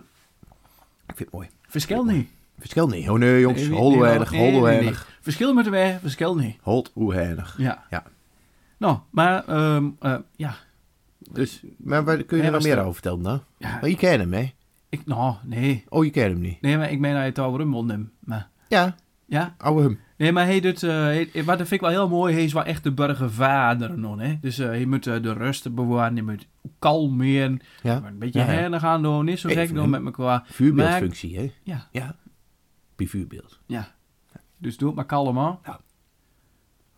vind het mooi.
Verschil niet.
Verschil niet. Oh nee jongens,
Nee,
hol
nee,
weinig,
nee, nee,
hol
nee.
weinig.
Verschil met de wij, verschil niet.
Holt hoe weinig.
Ja.
Ja.
Nou, maar, ehm eh, ja.
Dus, maar waar kun
Ja,
je er nog
was
meer
dat-
over vertellen dan?
ja
Maar je kent hem, hè?
ik, nou, nee.
Oh, je kent hem niet.
Nee, maar ik meen dat je het over hem mond Maar,
Ja,
ja.
ouwe hem.
Nee, maar hij doet, eh, hij- hij- wat dat vind ik wel heel mooi, hij is wel echt de burgervader non, hè. Dus eh, hij moet eh, de rust bewaren, hij moet kalmeren,
Ja.
een beetje
Ja, ja.
hernen gaan doen, niet zo
Ik
gek
vind
doen
hem-
met elkaar. Maar-
Vuurbeeldfunctie, hè?
Ja,
Ja. Bij vuurbeeld.
ja. Dus doe het maar kalm, hoor.
Ja.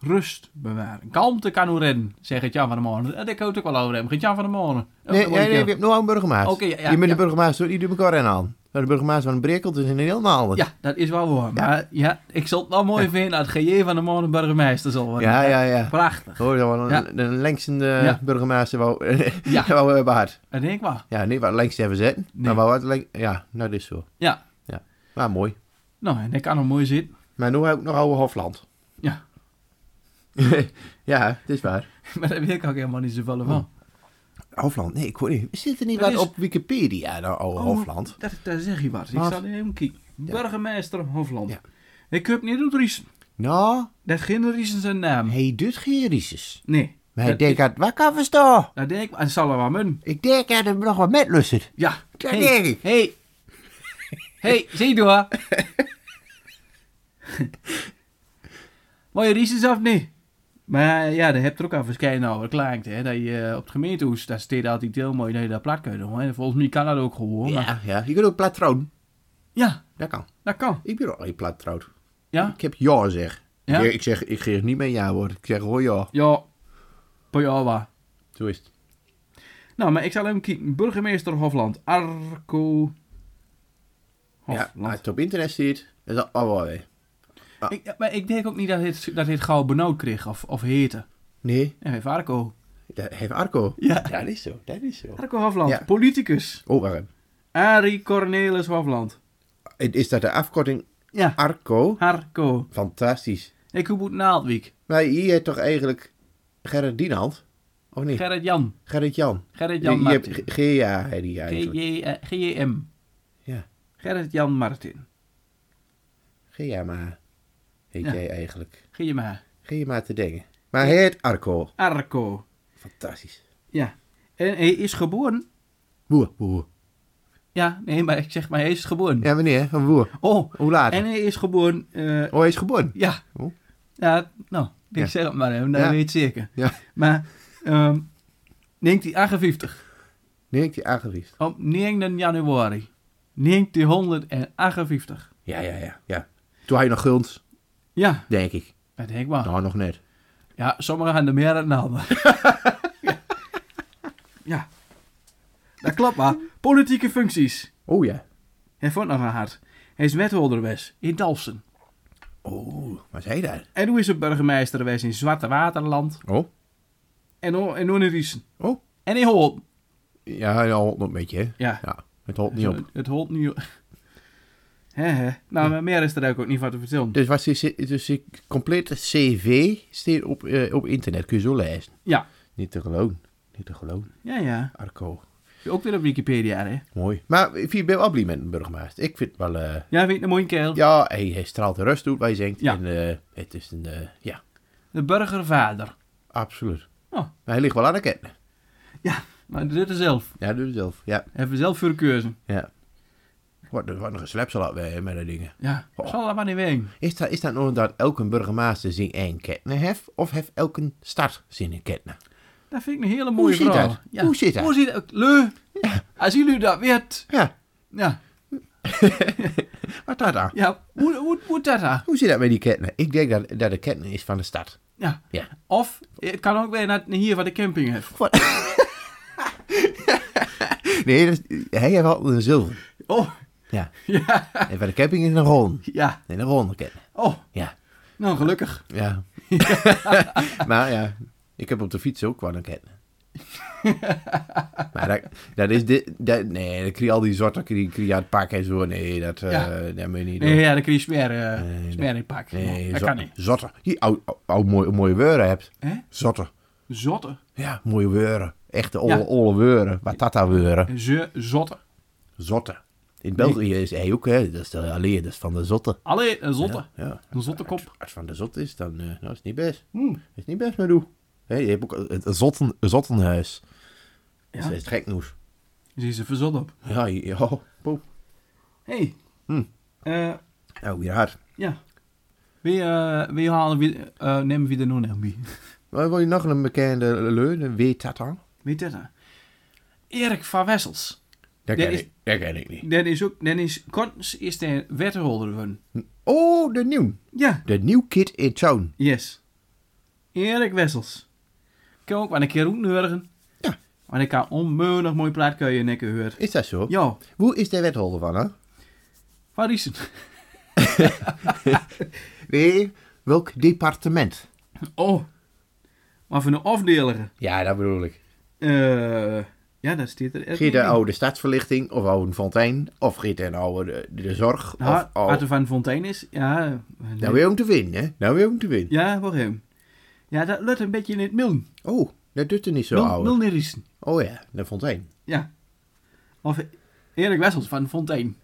Rust bewaren. Kalmte kan hoe redden, zegt het Jan van der Molen. Eh, Dat kan ook wel over hem, Gert-Jan van der Molen. Ook
Nee,
een
nee,
mooie
nee,
kerel.
je hebt nog een burgemeester.
oh, Oké, ja, ja,
je bent
ja.
de burgemeester, die doet elkaar in aan. Maar de burgemeester van Brekelt is een helemaal anders.
Ja, dat is wel waar. Maar ja, ik zal het wel mooi vinden dat GJ van der Molen burgemeester zal worden.
ja, ja. ja.
Prachtig.
Oh, dat was
Ja.
een, een lengste
Ja.
eh, burgemeester wou,
Ja.
wou eh, behaard.
Dat denk ik wel.
Ja, niet wat lengst even zetten.
Nee.
Maar wat lengst, ja, nou, dat is zo.
Ja.
Ja. Maar mooi.
Nou, en dat kan nog mooi zitten.
Maar nu heb ik nog oude Hofland.
Ja.
ja, het is waar.
Maar daar weet ik ook helemaal niet zoveel van.
Hofland, nee, ik hoor niet. Zit er niet
Dat
wat
is- Oh.
op Wikipedia, nou, oude Hofland?
Dat, daar zeg je wat. Ik
Wat?
zal even kijken. Burgemeester Hofland.
Ja.
Ik heb niet op Riesen.
Nou,
Dat geen Riesen zijn naam.
hij doet geen risus.
Nee.
dus Maar hij
dat,
denkt aan wat kan verstaan.
dat denk ik. En zal er wel munnen.
Ik denk dat hem nog wat met lussen.
Ja.
Dat denk ik.
Hey. hey, zie je hoor. Mooie Riesens of niet? Maar ja, daar heb je er ook al verschijnen over klaagd, hè. Dat je eh, op het gemeentehuis, daar staat altijd heel mooi dat je dat plat kunt doen. Hè. Volgens mij kan dat ook gewoon. maar-
Ja, ja, je kunt ook platroon.
ja,
Dat kan.
dat kan.
Ik ben ook niet platroon.
Ja?
Ik heb ja zeg.
Ja?
Ik, ik zeg, ik geef niet mijn ja woord. Ik zeg hoor ja.
Ja. Pajava.
Zo is het.
Nou, maar ik zal hem kijken. Burgemeester Hofland. Arco. Oh,
Ja, als
Hofland.
het op internet ziet, is dat allemaal weer.
ik, ja, maar ik denk ook niet dat dit, dat dit gauw benauwd kreeg of, of heette.
Nee,
En heeft Arco.
dat heeft Arco.
Ja.
dat is zo. Dat is zo.
Arco Hofland.
Ja.
Politicus.
Oh, waarom?
Arie Cornelis Hofland.
Is dat de afkorting
Ja.
Arco?
Arco.
Fantastisch.
Ik hoe moet Naaldwijk.
Maar hier heb toch eigenlijk Gerrit Dienhand? Of niet?
Gerrit Jan.
Gerrit Jan.
Gerrit Jan
Je- je hebt
Martin.
G- G.A. heet die eigenlijk.
G.J. eh, GJM.
Ja,
Gerrit Jan Martin.
G.A. maar heet
Ja.
jij eigenlijk.
GMA.
G.A. maar te denken. Maar hij heet Arco.
Arco.
Fantastisch.
Ja. En hij is geboren.
Boer, boer.
Ja, nee, maar ik zeg maar, hij is geboren.
Ja, meneer, een boer.
Oh.
Hoe laat?
En hij is geboren. eh,
Oh, hij is geboren.
Ja.
Oh.
Ja, nou, ik
Ja.
zeg het maar even, dan
Ja.
weet je het zeker.
Ja.
Maar, ehm 1958,
Nee, ik die aangeweest.
op 9 januari 1958.
Ja, ja, ja, ja. Toen hij nog gunt,
Ja,
denk ik.
dat denk ik wel.
Nou, nog net.
Ja, sommigen gaan er meer dan de anderen. Ja. ja. Dat klopt maar. Politieke functies.
Oh ja.
Hij vond nog een hart. Hij is wethouder geweest in Dalsen.
Oh, wat zei dat?
En hoe is de burgemeester geweest in Zwarte Waterland?
Oh,
En, o- en hoe in Riesen.
oh.
En in Holp.
Ja, dat holt nog een beetje, hè?
Ja.
ja. Het holt niet op.
Eh, Het holt nu... Hè, hè. Nou, maar meer is er eigenlijk ook niet van te vertellen.
Dus wat ze, dus ze complete cv staat op, eh, op internet. Kun je zo lezen.
Ja.
Niet te geloven. Niet te geloven.
Ja, ja.
Arco.
Ook weer op Wikipedia, hè.
Mooi. Maar ik vind ben wel blij met een burgemeester. Ik vind het wel... eh,
Ja, weet je, een mooie kerel.
ja, hij, hij straalt de rust uit, wij zingt.
Ja.
En eh, het is een... eh, ja,
De burgervader.
absoluut.
Oh.
Maar hij ligt wel aan de ketten.
Ja, maar dit is zelf.
Ja, doe het zelf. Ja,
Even zelf voor de keuze.
ja. Wat, wat een geslepsel hadden we hè, met dat dingen.
Ja, zal dat maar niet ween.
Is dat, is dat nou dat elke burgemeester zijn één ketne heeft? Of heeft elke stad zijn ketne?
Dat vind ik een hele mooie
zit
vraag.
dat? Hoe zit dat?
Hoe zit dat? Leu. Als jullie dat weet.
Ja,
Ja,
wat dat dan?
ja. Hoe, hoe, hoe dat dan?
Ah, Hoe zit dat met die ketne? Ik denk dat, dat de ketne is van de stad.
Ja.
Ja.
Of, het kan ook weer naar hier waar de camping heeft.
Nee, dat is- hij heeft altijd een zilver.
Oh,
Ja.
ja.
En bij de ketting is een ron.
Ja.
Nee, een ronde ketne.
Oh,
Ja.
nou gelukkig.
Ja. maar ja, ik heb op de fiets ook wel een ketne. maar dat, dat is dit... Dat, nee, dan krijg je al die zorten, die krijg je uit het pak en zo. Nee, dat, eh
Ja.
dat moet je niet doen.
Nee, ja, dan kun je smer, eh,
dat-
smer in pakken.
Nee,
dat
zo-
kan niet.
Zotter. Die oude ou, ou, mooie, mooie weuren hebt.
Hè?
Zotter.
Zotte.
Ja, mooie weuren. Echte olle,
Ja.
olle weuren. Watata weuren.
Ze zotte.
Zotter. In België is hij ook, hè. Dat is de leer, dat is van de zotte.
Allee, een zotte.
Ja.
Een zotte kop.
Als het van de zot is, dan eh, nou, is het niet best. Is niet best, maar doe. Hé, je hebt ook het zotten, zottenhuis. Dat is echt gek nieuws.
Zie ze verzot op.
Ja, ja. Poep.
Hé. Hey.
Hm.
Eh,
Nou, weer hard.
ja. Wie, eh, wie halen we, eh nemen we er nog een bij?
Maar wil je nog een bekende leun? Weet dat dan?
Weet je dat? nou? Erik van Wessels.
Dat
Nee,
ken,
is-
ik, dat ken ik niet.
Dat is ook, dat is, kort is de wethouder van.
Oh, de nieuw.
Ja.
De nieuw kid in town.
Yes. Erik Wessels. Ik kan ook wel een keer roetnurgen.
Ja.
Maar ik kan onmeunig mooi plaat kun je nekken horen.
Is dat zo?
Ja,
Hoe is de wethouder van, hè?
waar is het?
Nee, welk departement?
Oh. Maar van de afdeligen.
Ja, dat bedoel ik.
Eh, ja, dat staat er. echt
Geet een
niet.
oude stadsverlichting of oude fontein. Of geet een oude de, de zorg.
Nou,
of
wat er
oude...
van Fontein is, ja. eh,
Nou weer om te winnen, hè? Nou weer om te winnen.
Ja, voor hem. Ja, dat lukt een beetje in het miln.
Oh, dat doet er niet zo
Miln,
oude.
miln in Riesen.
Oh ja, de fontein.
Ja. Of Erik Wessels van Fontein.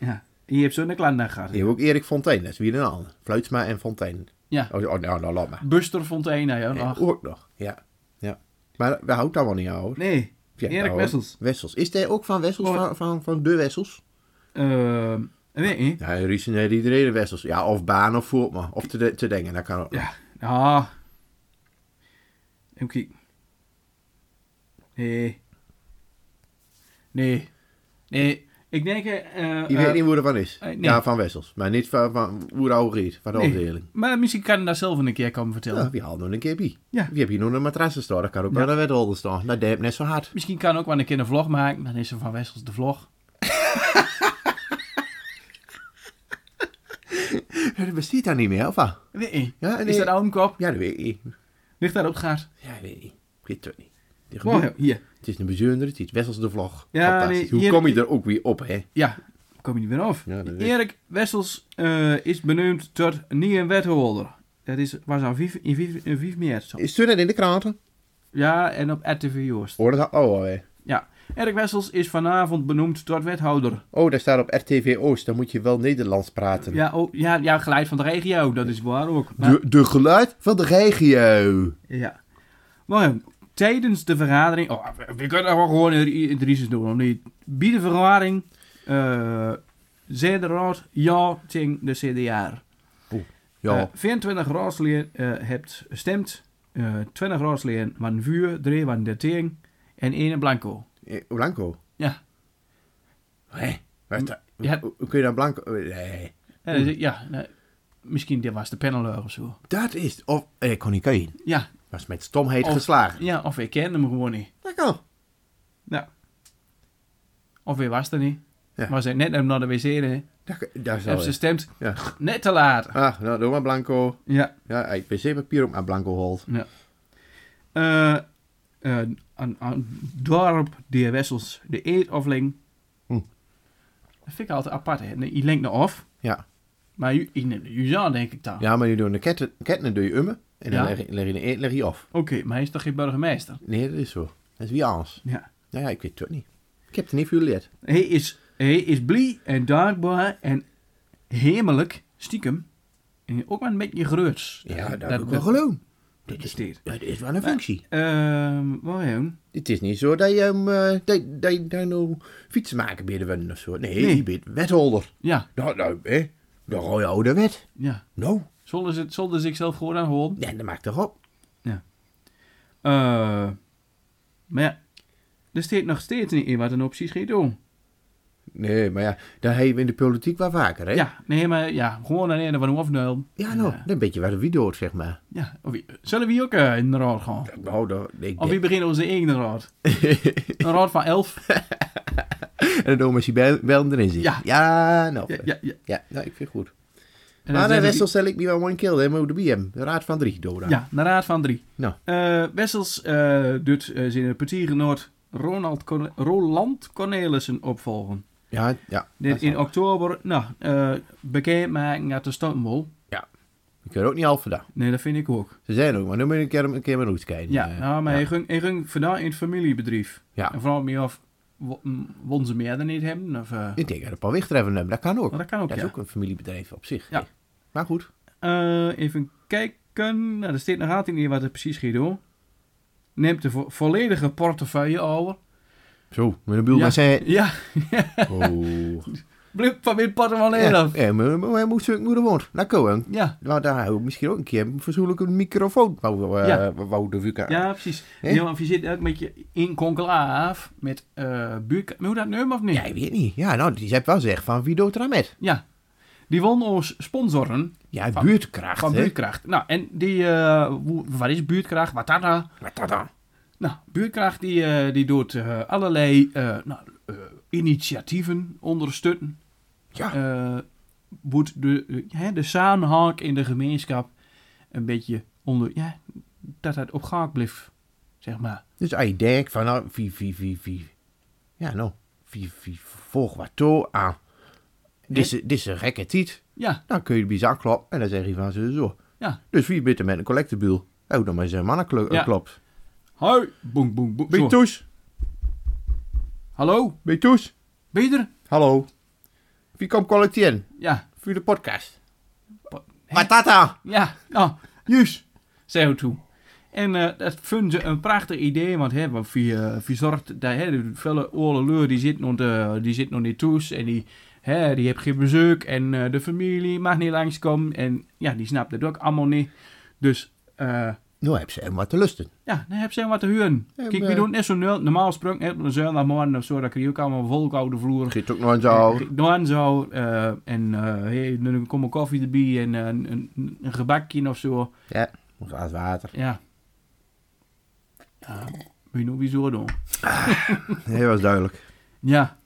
ja. Je hebt zo'n klant gehad.
Je hebt ook Erik Fontein, dat is weer een ander. Fluitsma en Fontein.
Ja.
Oh, oh nou, nou, laat maar.
Buster Fontein, nou ja. nog.
Ook nog, ja. ja. Maar dat houdt allemaal niet oude.
Nee. Erik Wessels.
nou, Wessels. Is hij ook van Wessels,
Oh.
van, van, van de Wessels?
Ehm, weet je?
Ja, in Riesen heeft iedereen de Wessels. Ja, of Baan of Voortma. Of te, te denken, dat kan ook. nog.
Ja. Ja. Even kijken. Nee. Nee. Nee. Ik denk... eh, eh,
Je weet niet hoe ervan is.
eh, nee.
Ja, van Wessels. Maar niet van, van hoe de oude reed, van de
nee.
afdeling.
Maar misschien kan ik dat zelf een keer komen vertellen.
Ja, wie haalt nog een keer bij?
Ja.
Wie heb je nog een matras staan? Dat kan ook wel bij de wethouder staan. Dat deed net zo hard.
Misschien kan ook wel een keer een vlog maken. Dan is er van Wessels de vlog.
Dat bestaat daar niet meer, of wat?
Weet je?
Ja, nee.
Is dat oude kop?
Ja, dat weet ik.
Ligt daar op gaat.
Ja, ik weet niet. Ik weet het niet. Het is een
Mooi,
boek.
hier.
Het is een bijzonder, het is Wessels de Vlog.
Ja,
Fantastisch.
nee,
Hoe
hier-
kom je er ook weer op, hè?
Ja, kom je niet meer af.
Ja, dat weet ik.
Erik Wessels eh, is benoemd tot nieuwe wethouder. Dat is, was aan vijf- in 5 in vijf maart zo.
Is het in de kranten?
Ja, en op RTV Joost.
Oh, dat had- oh, hè.
Ja. Erik Wessels is vanavond benoemd tot wethouder.
oh, daar staat op RTV Oost, dan moet je wel Nederlands praten.
Ja, oh, ja, ja geluid van de regio, dat is waar ook. Maar,
De, de geluid van de regio.
ja. Maar eh, tijdens de vergadering... Oh, we- we kunnen wel gewoon in in Drieses doen, of niet? Bij de vergadering eh zei de raad ja tegen de CDA.
Ja,
Eh, 24 raadsleden eh hebt gestemd. Eh 20 raadsleden waren vuur, 3 waren dertien en 1 blanco.
eh, Blanco.
Ja,
Hé? Waar is dat?
Ja.
Hoe hoe kun je dan Blanco... Oh, Nee,
ja, dat is- ja nou, misschien dit was de paneleur of zo.
dat is... Of, eh, kon ik heen.
Ja,
Was met stomheid
Of-
geslagen.
ja of ik kende hem gewoon niet.
Dat kan.
Ja. Of hij was er niet.
Ja.
Maar ze net hem naar de wc. reden.
Daar, daar zal
Heb ze
je.
stemt
Ja.
net te laat.
Ah, nou, doe maar blanco.
Ja.
Ja, ik ben zeker papier op mijn blanco holt.
Eh, eh, aan, aan dorp de Wessels, de eetofling.
Hm.
Dat vind ik altijd apart. Hè. Nee, Je lenkt nou af.
Ja.
Maar je, je neemt de zou denk ik dan.
Ja, maar nu doen de ketten, ketten doe je ummen. En dan
Ja.
leg, je- leg je de eet leg je af.
Oké, maar hij is toch geen burgemeester?
Nee, dat is zo. Dat is wie anders.
Ja.
Nou ja, ik weet het ook niet. Ik heb het niet veel geleerd.
Hij is, hij is blij en dankbaar en hemelijk, stiekem. En ook maar een beetje groots.
Ja, dat heb ik wel geloon. Dit is,
besteed.
dat is wel een functie.
Ehm, waarom?
Het is niet zo dat je hem eh, dat, dat je daar nou fietsenmaker bij de winnen of zo. Nee,
Nee.
je bent wethouder.
Ja,
Nou, nou, hè? De rode oude wet.
ja.
Nou,
Zullen ze, zullen ze zichzelf gewoon aan houden?
nee, dat maakt toch op.
Eh, maar ja, er staat nog steeds niet in wat een optie gaat doen.
Nee, maar ja, dat hebben we in de politiek wel vaker, hè?
Ja, nee, maar ja, gewoon aan de ene van hem afnuil.
Ja, nou, dat een beetje wat wie doet, zeg maar.
Ja, of wie- zullen we hier ook eh, in de raad gaan?
Nou, dat, ik
Of wie beginnen onze eigen raad? Een raad van elf?
En dan moet je wel, wel erin zitten.
Ja.
ja nou.
Ja,
Ja,
ja, ja.
nou, ik vind het goed.
En dan
maar de
zeggen
Wessel stel ik me wel one kill, hè? Maar hoe de BM, de raad van drie, Doda.
die- Ja, de raad van drie.
Nou.
Eh, Wessels eh, doet eh, zijn partijgenoot Ronald Corne- Roland Cornelissen opvolgen.
Ja, ja.
Dit
dat
in
zal.
oktober, nou, eh bekendmaken naar de Stambool.
Ik kan er ook niet half vandaan.
Nee, dat vind ik ook.
Ze zijn ook, maar nu moet ik een keer, een keer mijn roots kijken.
Ja,
Eh,
nou, maar hij
ja.
ging, hij ging vandaan in het familiebedrijf.
Ja.
En vooral meer af, wo- m, won ze meer dan niet hebben? Of, eh,
Ik denk dat een paar wichtreffen hebben, dat kan ook.
maar dat kan ook,
dat is
ja.
ook een familiebedrijf op zich.
Ja.
Maar goed.
Eh, even kijken. Nou, er staat nog altijd niet wat het precies gaat doen. Neemt de vo- volledige portefeuille over.
Zo, met een buur
ja.
maar zijn.
Ja,
Oh.
blip van mijn portemonnee
ja,
af.
ja, maar maar hij moest zijn moeder woont. Nou, Cohen.
Ja,
Nou, daar hebben we misschien ook een keer een verzoenlijke microfoon. Wou, eh
Ja.
wou de vuka.
ja, precies.
Hè?
Ja, want je zit ook met je in conclaaf met eh buurk... Hoe dat nummer of niet?
Ja, ik weet niet. Ja, nou, die zei wel zeg van wie doet er aan met?
Ja. Die won ons sponsoren
Ja,
Van-
buurtkracht,
van
hè?
Buurtkracht. Nou, en die... eh, hoe- wat is Buurtkracht? Wat dat nou?
Wat dat dan?
Nou, Buurtkracht die, eh, die doet eh, allerlei eh, nou, eh, initiatieven ondersteunen.
Ja.
Eh, moet de, de, hè, de samenhang in de gemeenschap een beetje onder... Ja, dat het op gang blijft, zeg maar.
Dus als je denkt van, nou, wie, wie, wie, wie... Ja, nou, wie, wie volgt wat toe aan? Dit is- dit is een gekke tiet.
Ja,
Dan kun je de bizar kloppen en dan zeg je van zo, zo.
ja.
Dus wie bent er met een collectebuul? Oh, dan maar zijn mannen klo-
Ja.
klopt.
Hoi, boem, boem, boem. Zo.
Beetoes,
Hallo,
Beetoes.
ben je er?
Hallo. Wie komt collecteren?
Ja,
Voor de podcast.
Po- hè?
Matata.
ja, nou, juist. Zeg het toe. En eh, dat vinden ze een prachtig idee, want hè, want wie, eh, wie zorgt dat hè, de felle oude leur die zit nog, de, die zit nog niet thuis en die, hè, die heeft geen bezoek en eh, de familie mag niet langskomen en ja, die snapt het ook allemaal niet. Dus eh,
Nou heb ze hem wat te lusten.
ja, dan heb ze wat te huren.
Ja,
Kijk, we
maar-
doen net zo nul, normaal sprong hè, op een zondagmorgen of zo, dan krijg je ook allemaal volk over de vloer.
Geet ook nog eens over.
Dan zo. eh, en eh, hey, dan kom een koffie erbij en eh, een, een, een gebakje of zo.
Ja, een glaas water.
Ja. Ja, moet je nog weer zo doen.
Nee, was duidelijk.
Ja.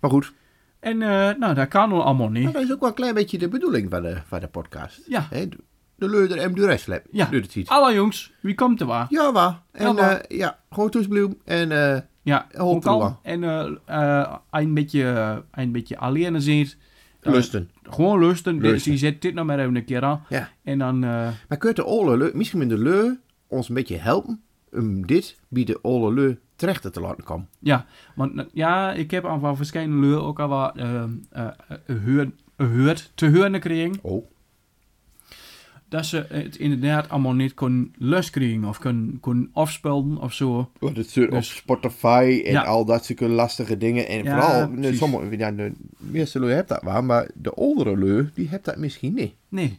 Maar goed,
En eh, nou, dat kan al allemaal
maar
niet.
dat is ook wel een klein beetje de bedoeling van de, van de podcast.
Ja.
Hè, de- de leuder en de restlap.
Ja.
Doe het iets.
Alla jongens, wie komt er waar?
Ja, waar. En
Ja, waar.
eh, ja, gewoon toesbloem. En eh,
Ja,
Hoop
ook al.
er wel.
En eh, eh, een beetje, eh, een beetje alleen zit. Eh,
lusten.
Gewoon lusten. Dus
Lusten.
Die zet dit nog maar even een keer aan.
Ja.
En dan, eh,
Maar kunt de Ole Leu, misschien met de Leu, ons een beetje helpen om dit bij de Ole Leu terecht te laten komen?
ja. Want eh, ja, ik heb al van verschillende leuren ook al wat eh, eh, gehoord- gehoord, te horen gekregen.
Oh.
dat ze het inderdaad allemaal niet kon luskriegen of kon, kon afspelen of zo.
Wat het zeur op
Dus-
Spotify en
Ja.
al dat soort lastige dingen. En
Ja,
vooral,
precies.
nee, sommige, ja, de meeste Leu hebt dat wel, maar de oudere Leu, die hebt dat misschien niet.
Nee.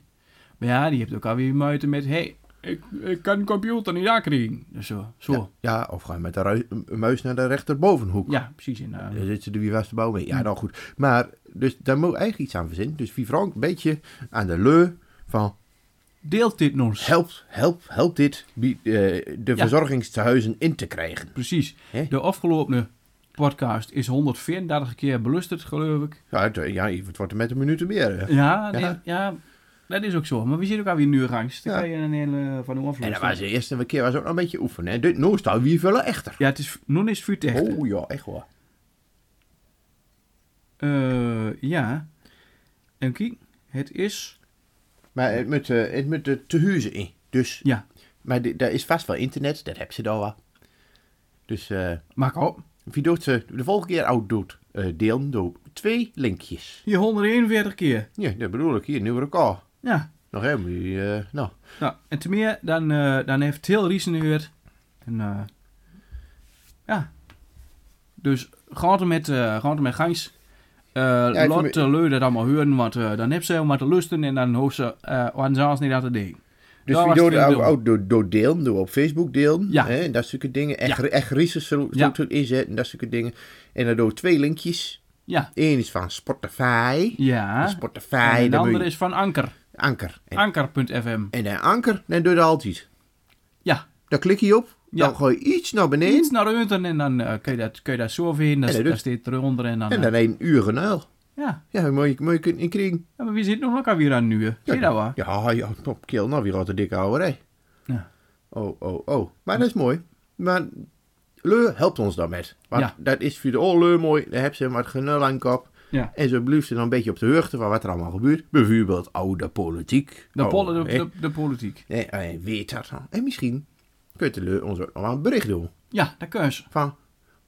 Maar ja, die heeft ook alweer muiten met, hey, ik, ik kan de computer niet aankriegen. Dus zo. zo. Ja.
Ja, of ga je met de rui- een muis naar de rechterbovenhoek.
precies. En, eh,
Dan zit ze er wie was de bouw mee. Ja, nou goed. Maar, dus daar moet eigenlijk iets aan verzinnen. Dus wie Frank een beetje aan de Leu van
deelt dit nog?
help, help, help dit bij, eh, de
Ja.
verzorgingstehuizen in te krijgen.
Precies.
Hè?
De afgelopen podcast is 134 keer belusterd, geloof ik.
Ja, het, eh, ja, het wordt er met een minuut meer. hè.
Ja,
Ja.
nee, ja. dat is ook zo. Maar we zitten ook alweer nu angst. Dan
Ja.
kan je een hele van hoe
En dat
aflossen.
was de eerste keer was ook nog een beetje oefenen. Hè. Dit, nou, nu staat wie veel echter.
Ja, het is, nu is het vuur echt.
Oh ja, echt wel.
Eh, ja. En kijk, het is...
Maar het moet, eh, het moet er te huizen in. Dus,
Ja,
maar dit- daar is vast wel internet, dat heb ze dan wel. Dus eh,
maak op.
wie doet ze de volgende keer oud doet, eh deel door twee linkjes.
Hier 141 keer.
Ja, dat bedoel ik. Hier, nieuw record.
Ja.
Nog helemaal niet, eh, nou.
Nou, en te meer, dan, eh, dan heeft heel Riesen gehoord. En, eh, ja. Dus gaat er met, eh gaat er met gangs. Eh
ik
laat
vind-
de lui dat allemaal horen, want eh, dan heb ze helemaal te lusten en dan hoeft ze eh aan zelfs niet aan te denken.
Dus
Daar
wie
was
doet
het
ook,
in beeld.
ook door, door delen, door op Facebook delen.
Ja.
Hè, en dat soort dingen. Echt,
Ja.
echt research
Ja.
inzetten en dat soort dingen. En dan doe twee linkjes.
Ja.
Eén is van Spotify.
Ja.
Spotify.
en de
dan moet
andere
je-
is van Anker.
Anker. En,
Anker.fm.
en dan Anker, dan doe je dat altijd.
Ja.
Daar klik je op.
Ja.
Dan gooi je iets naar beneden.
Eens naar Unten en dan eh, kun, je dat, kun je dat zo vinden. Dan,
En dat
dan
doet-
staat eronder en dan...
En
eh,
dan een uur genuil.
ja.
Ja, dan moet je, moet je kunnen inkriegen.
ja, maar wie zit nog elkaar weer aan nu? hè? Zie je dat wel?
Ja, ja, top kill. Nou, weer gaat de dikke ouwerij.
Ja.
Oh, oh, oh. Maar dat is mooi. Maar Leur helpt ons daarmee. Want
Ja.
dat is voor de oh, Leur mooi. Daar heb ze wat genul aan kop.
Ja.
En zo blijft ze dan een beetje op de hoogte van wat er allemaal gebeurt. Bijvoorbeeld oude politiek.
De,
Oh,
pol- de,
hè.
de, de politiek.
Nee, hij weet dat dan. En misschien kunt de Leur ons ook nog wel een bericht doen.
Ja, dat kun je.
Van,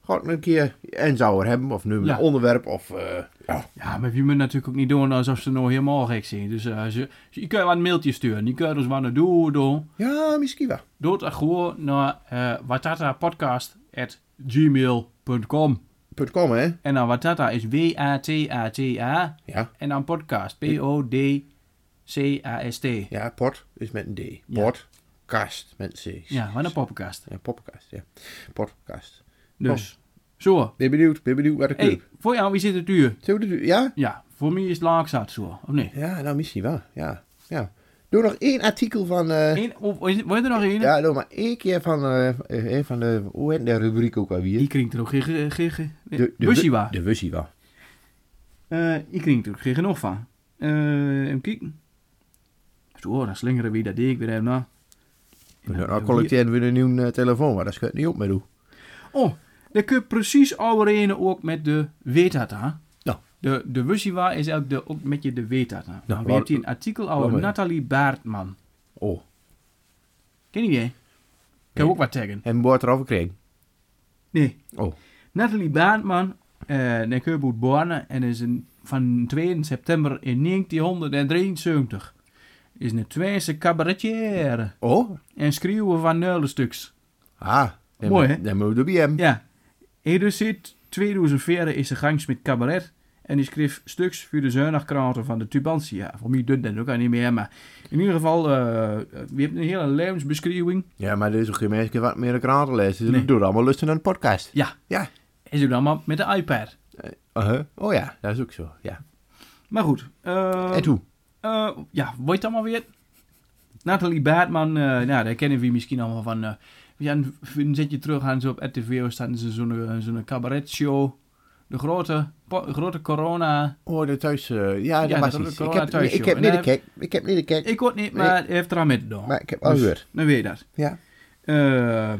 ga ik een keer en zou er hebben. Of nu een
Ja.
onderwerp. Of, eh, ja.
Ja, maar wie moet natuurlijk ook niet doen alsof ze nou helemaal gek zijn. Dus eh, ze, ze- je kunt wel een mailtje sturen. Je kunt ons wel naar doen. Doe,
ja, misschien wel.
doe dat gewoon naar eh watatapodcast.gmail.com
Punt com, hè?
En dan watata is W-A-T-A-T-A.
Ja.
En dan podcast. P-O-D-C-A-S-T.
Ja, pot is met een D.
Ja.
Pot. Kast met een C.
Ja, wat een poppenkast.
Ja, poppenkast, ja. Podcast.
Dus, zo.
Ben je benieuwd, ben je benieuwd waar de
Hé,
club.
hey, voor jou, wie zit het duur?
Zullen we dit doen? Ja?
Ja, voor mij is het laagzaad zo, of nee?
Ja, nou misschien wel. Ja. ja. Doe nog één artikel van... eh,
Eén, of, of is- wordt er nog één?
ja, doe maar één keer van, eh, eh, een van de... Hoe heet de rubriek ook
Die
alweer?
kringt er ook geen... ge- ge- ge-
De, de,
busje
wu-
waar.
De Wussiwa.
Eh, ik kreeg natuurlijk geen genoeg van. Eh even kijken. Zo, dan slingeren we dat ik weer even na. En dan-
Nou collecteren we een nieuwe eh, telefoon, maar dat schuift niet op met hoe.
Oh, dat kun je precies overeen ook met de Wetata.
Nou.
De, de Wussiwa is ook, de, ook met je de Wetata.
Nou,
we
waar-
hebben hier een artikel
waar
over
ben je?
Nathalie Baartman.
Oh.
Ken je die? Ik heb ook wat tegen.
En wordt erover gekregen.
Nee.
Oh.
Nathalie Baartman, eh, naar Keurboet Borne en is een, van 2 september in 1973. Is een Twentse cabaretier.
Oh?
en schreeuwen van nuilenstuks.
Ah. dan
Mooi,
moet-
hè?
Dan moet je bij hem.
Ja. Hij dus zit 2004 is de gangs met cabaret. En die schreef stuks voor de zuinigkranten van de Tubantia. Ja, voor mij doet dat ook al niet meer, maar in ieder geval, eh, we hebben een hele levensbeschrijving.
Ja, maar er is ook geen mensen wat meer een krant lezen. Dus
Nee.
doe allemaal lusten aan een podcast.
Ja,
Ja.
is ook allemaal met de iPad.
Uh-huh. Oh ja, dat is ook zo. Ja.
Maar goed. eh,
en hoe?
eh, ja, weet het allemaal weer? Nathalie Baartman, eh, nou, daar kennen we misschien allemaal van. eh ja, dan zet je terug aan ze op RTV, dan staan ze zo'n eh, zo'n cabaretshow. De grote, po- grote corona...
Oh, de thuis. eh, ja, dat
Ja,
was
dat
iets.
was ook wel
Ik heb,
een thuis,
ik heb
joh.
niet
En
de kijk. Ik heb niet de kijk.
Ik ook niet,
Nee.
maar hij heeft er aan met dan.
Maar ik heb al gehoord.
Dan weet je dat.
Ja.
Eh,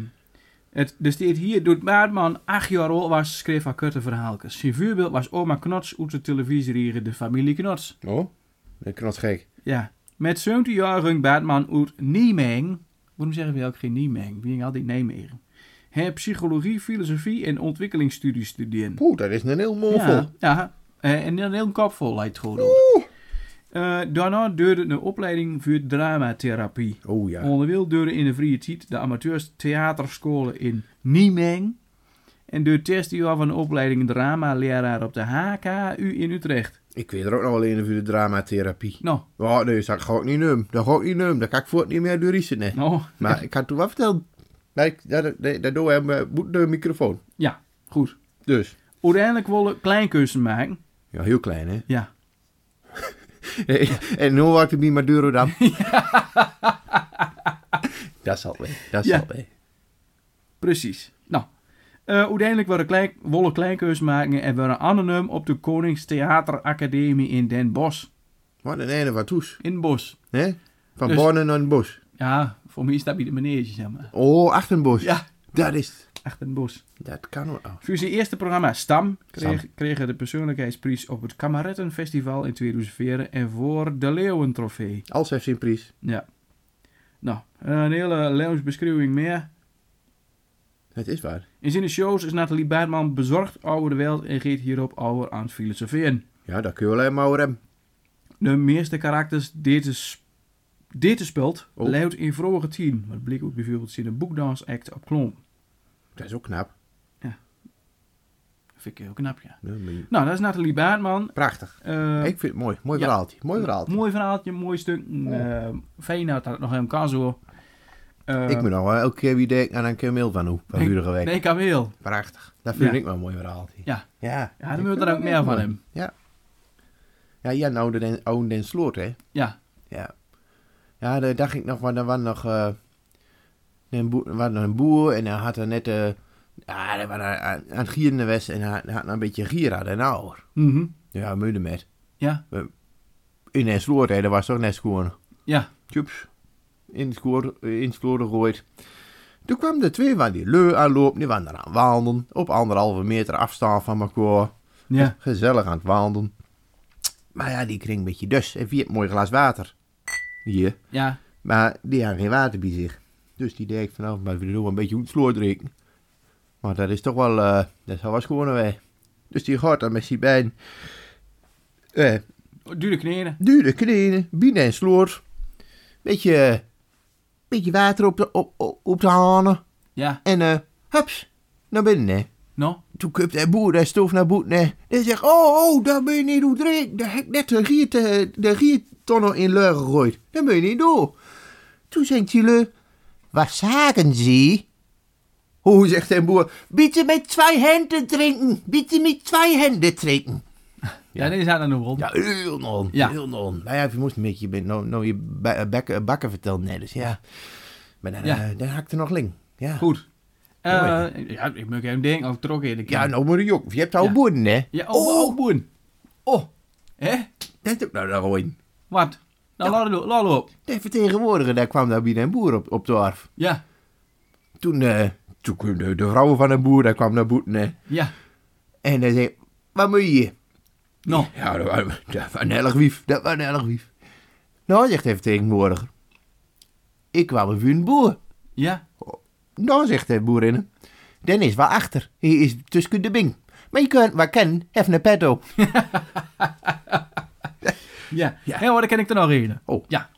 het, er staat hier, doet Maartman, acht jaar oud was, schreef haar korte verhaaltjes. Zijn voorbeeld was oma Knots uit de televisiereger De Familie Knots.
Oh, dat knot gek.
Ja. Met 17-jarige Baartman uit Nijmegen. Waarom zeggen we ook geen Nijmegen? Wie ging altijd Nijmegen? Hij psychologie, filosofie en ontwikkelingsstudies studeerde.
Poeh, dat is een heel mooi vol.
Ja, ja. Eh, en dan heel kop vol, lijkt het gewoon. ook. Eh, daarna duurde een opleiding voor dramatherapie.
Oh ja.
Onder wil deuren in de vrije tijd de amateurs theaterscholen in Nijmegen. En de eerste jaar van de opleiding drama-leraar op de HKU in Utrecht.
Ik weet er ook nog wel een voor de dramatherapie.
Nou,
Oh nee, dat ga ik niet nemen. Dat ga ik niet nemen. Dat kan ik voort niet meer doorriezen. Nee.
nou,
Maar ik kan het toen wel vertellen. Nee, ik- dat, dat, dat doe hem eh, moet de microfoon.
ja, goed.
Dus.
Uiteindelijk willen kleinkunsten maken.
Ja, heel klein hè. Eh,
Ja.
en nu wordt het bij Maduro dan. dat zal mee. Dat
Ja.
zal mee.
Precies. Nou, Eh, uiteindelijk waren klein, wollen kleinkeus maken en waren anoniem op de Koningstheateracademie in Den Bosch.
Wat een ene wat toes.
In Bosch.
Hè? Van
Dus-
Borne naar het bos.
Ja, voor mij is dat bij de manege, zeg maar.
Oh, achter een bos.
Ja,
Dat is het.
echt een bos.
Dat kan wel. Oh.
Voor zijn eerste programma Stam kreeg, kregen de persoonlijkheidsprijs op het Kamarettenfestival in 2004 en voor de Leeuwentrofee.
Als heeft zijn prijs.
Ja. Nou, een hele levensbeschrijving meer.
Het is waar.
In zijn shows is Nathalie Baartman bezorgd over de wereld en geeft hierop over aan het filosoferen.
Ja, dat kun je alleen maar over hebben.
De meeste karakters dit is dit is speelt,
Oh.
luidt in vroege tien. Wat bleek ook bijvoorbeeld in een boekdansact op Klon.
Dat is ook knap.
Dat vind ik heel knap, ja.
Ja, maar je-
Nou, dat is Nathalie Baartman.
Prachtig.
Eh,
Ik Oh. vind het mooi. Mooi
ja.
verhaaltje. Mooi verhaaltje.
Mooi verhaaltje, mooi stuk. Eh, fijn dat dat nog helemaal kan zo. Eh,
ik moet nog wel elke keer wie denken aan een keer mail van hoe. Van
Ik-
vorige week.
Nee, Kameel.
Prachtig. Dat vind
Ja.
ik wel een mooi verhaaltje.
Ja.
Ja.
Ja, dan
Ik
moet
vind
er ook
het
meer van
mooi.
hem.
Ja. Ja, ja, nou de den, oude den sloot, hè.
Ja.
Ja. Ja, daar dacht ik nog, want er was nog, eh, een, boer, was nog een boer en hij had er net, eh ja, hij was aan, aan het gieren geweest en hij had- hij had nog een beetje gier aan de ouder.
Mhm.
Ja, moeder met.
Ja.
In den sloot, hè, dat was toch net schoon.
Ja.
Tjups. In het koor- eh, in het sloot gegooid. Toen kwamen de twee van die leu aanlopen, die waren aan wandelen, op anderhalve meter afstand van elkaar.
Ja.
Gezellig aan het wandelen. Maar ja, die kreeg een beetje dus. En vier mooi glas water. Hier.
Ja.
Maar die had geen water bij zich. Dus die deed van, nou, maar we doen een beetje goed sloor drinken. Maar dat is toch wel, eh dat is wel wat schoner wij. Dus die gaat dan met zijn been. eh,
Oh, Dure kneden.
dure kneden, binnen en sloor. Beetje, eh, beetje water op de, op, op, op de hanen.
Ja.
En, eh, hups, naar binnen hè
Nou.
toen kwam de boer daar stof naar boet. hè. Die zegt, oh, oh, dat ben je niet doen drinken. Daar heb ik net de riet, eh, de riettonnel in leur gegooid. Dat ben je niet doen. Toen zegt die leur, wat zagen ze? Hoe zegt de boer, bitte met twee handen drinken. Bitte met twee handen drinken.
Ja, dit is aan de hond.
Ja, heel non.
Ja.
Heel non. Nou ja, je moest een beetje je bent nou, nou je ba- bakken, bakken vertellen. Nee, dus ja. Maar dan,
Ja.
eh, dan hakte nog ling. Ja.
Goed. Eh, ja, ik moet even denken of ik er ook eerder
Ja, nou moet je ook. Je hebt oude
Ja.
boeren, hè?
Ja, oh, oh, boen.
oh.
Hé?
Dat is ook nou gewoon.
Wat? Nou, laat het lo- laat het op.
De vertegenwoordiger, daar kwam daar binnen een boer op, op de arf.
Ja.
Toen, eh, toen kwam de, de vrouw van een boer, daar kwam naar boeten. hè.
Ja.
En hij zei, wat moet je hier?
Nou.
Ja, dat was, dat was een elg wief, dat was een elg wief. Nou, zegt de vertegenwoordiger, ik kwam een vuur boer.
Ja.
Nou, zegt de boer in hem, dan is waar achter, hij is tussen de bing. Maar je kunt wat kennen, even een pet op.
Ja.
Ja.
Ja. hoor, dat ken ik er nog eerder.
Oh.
Ja.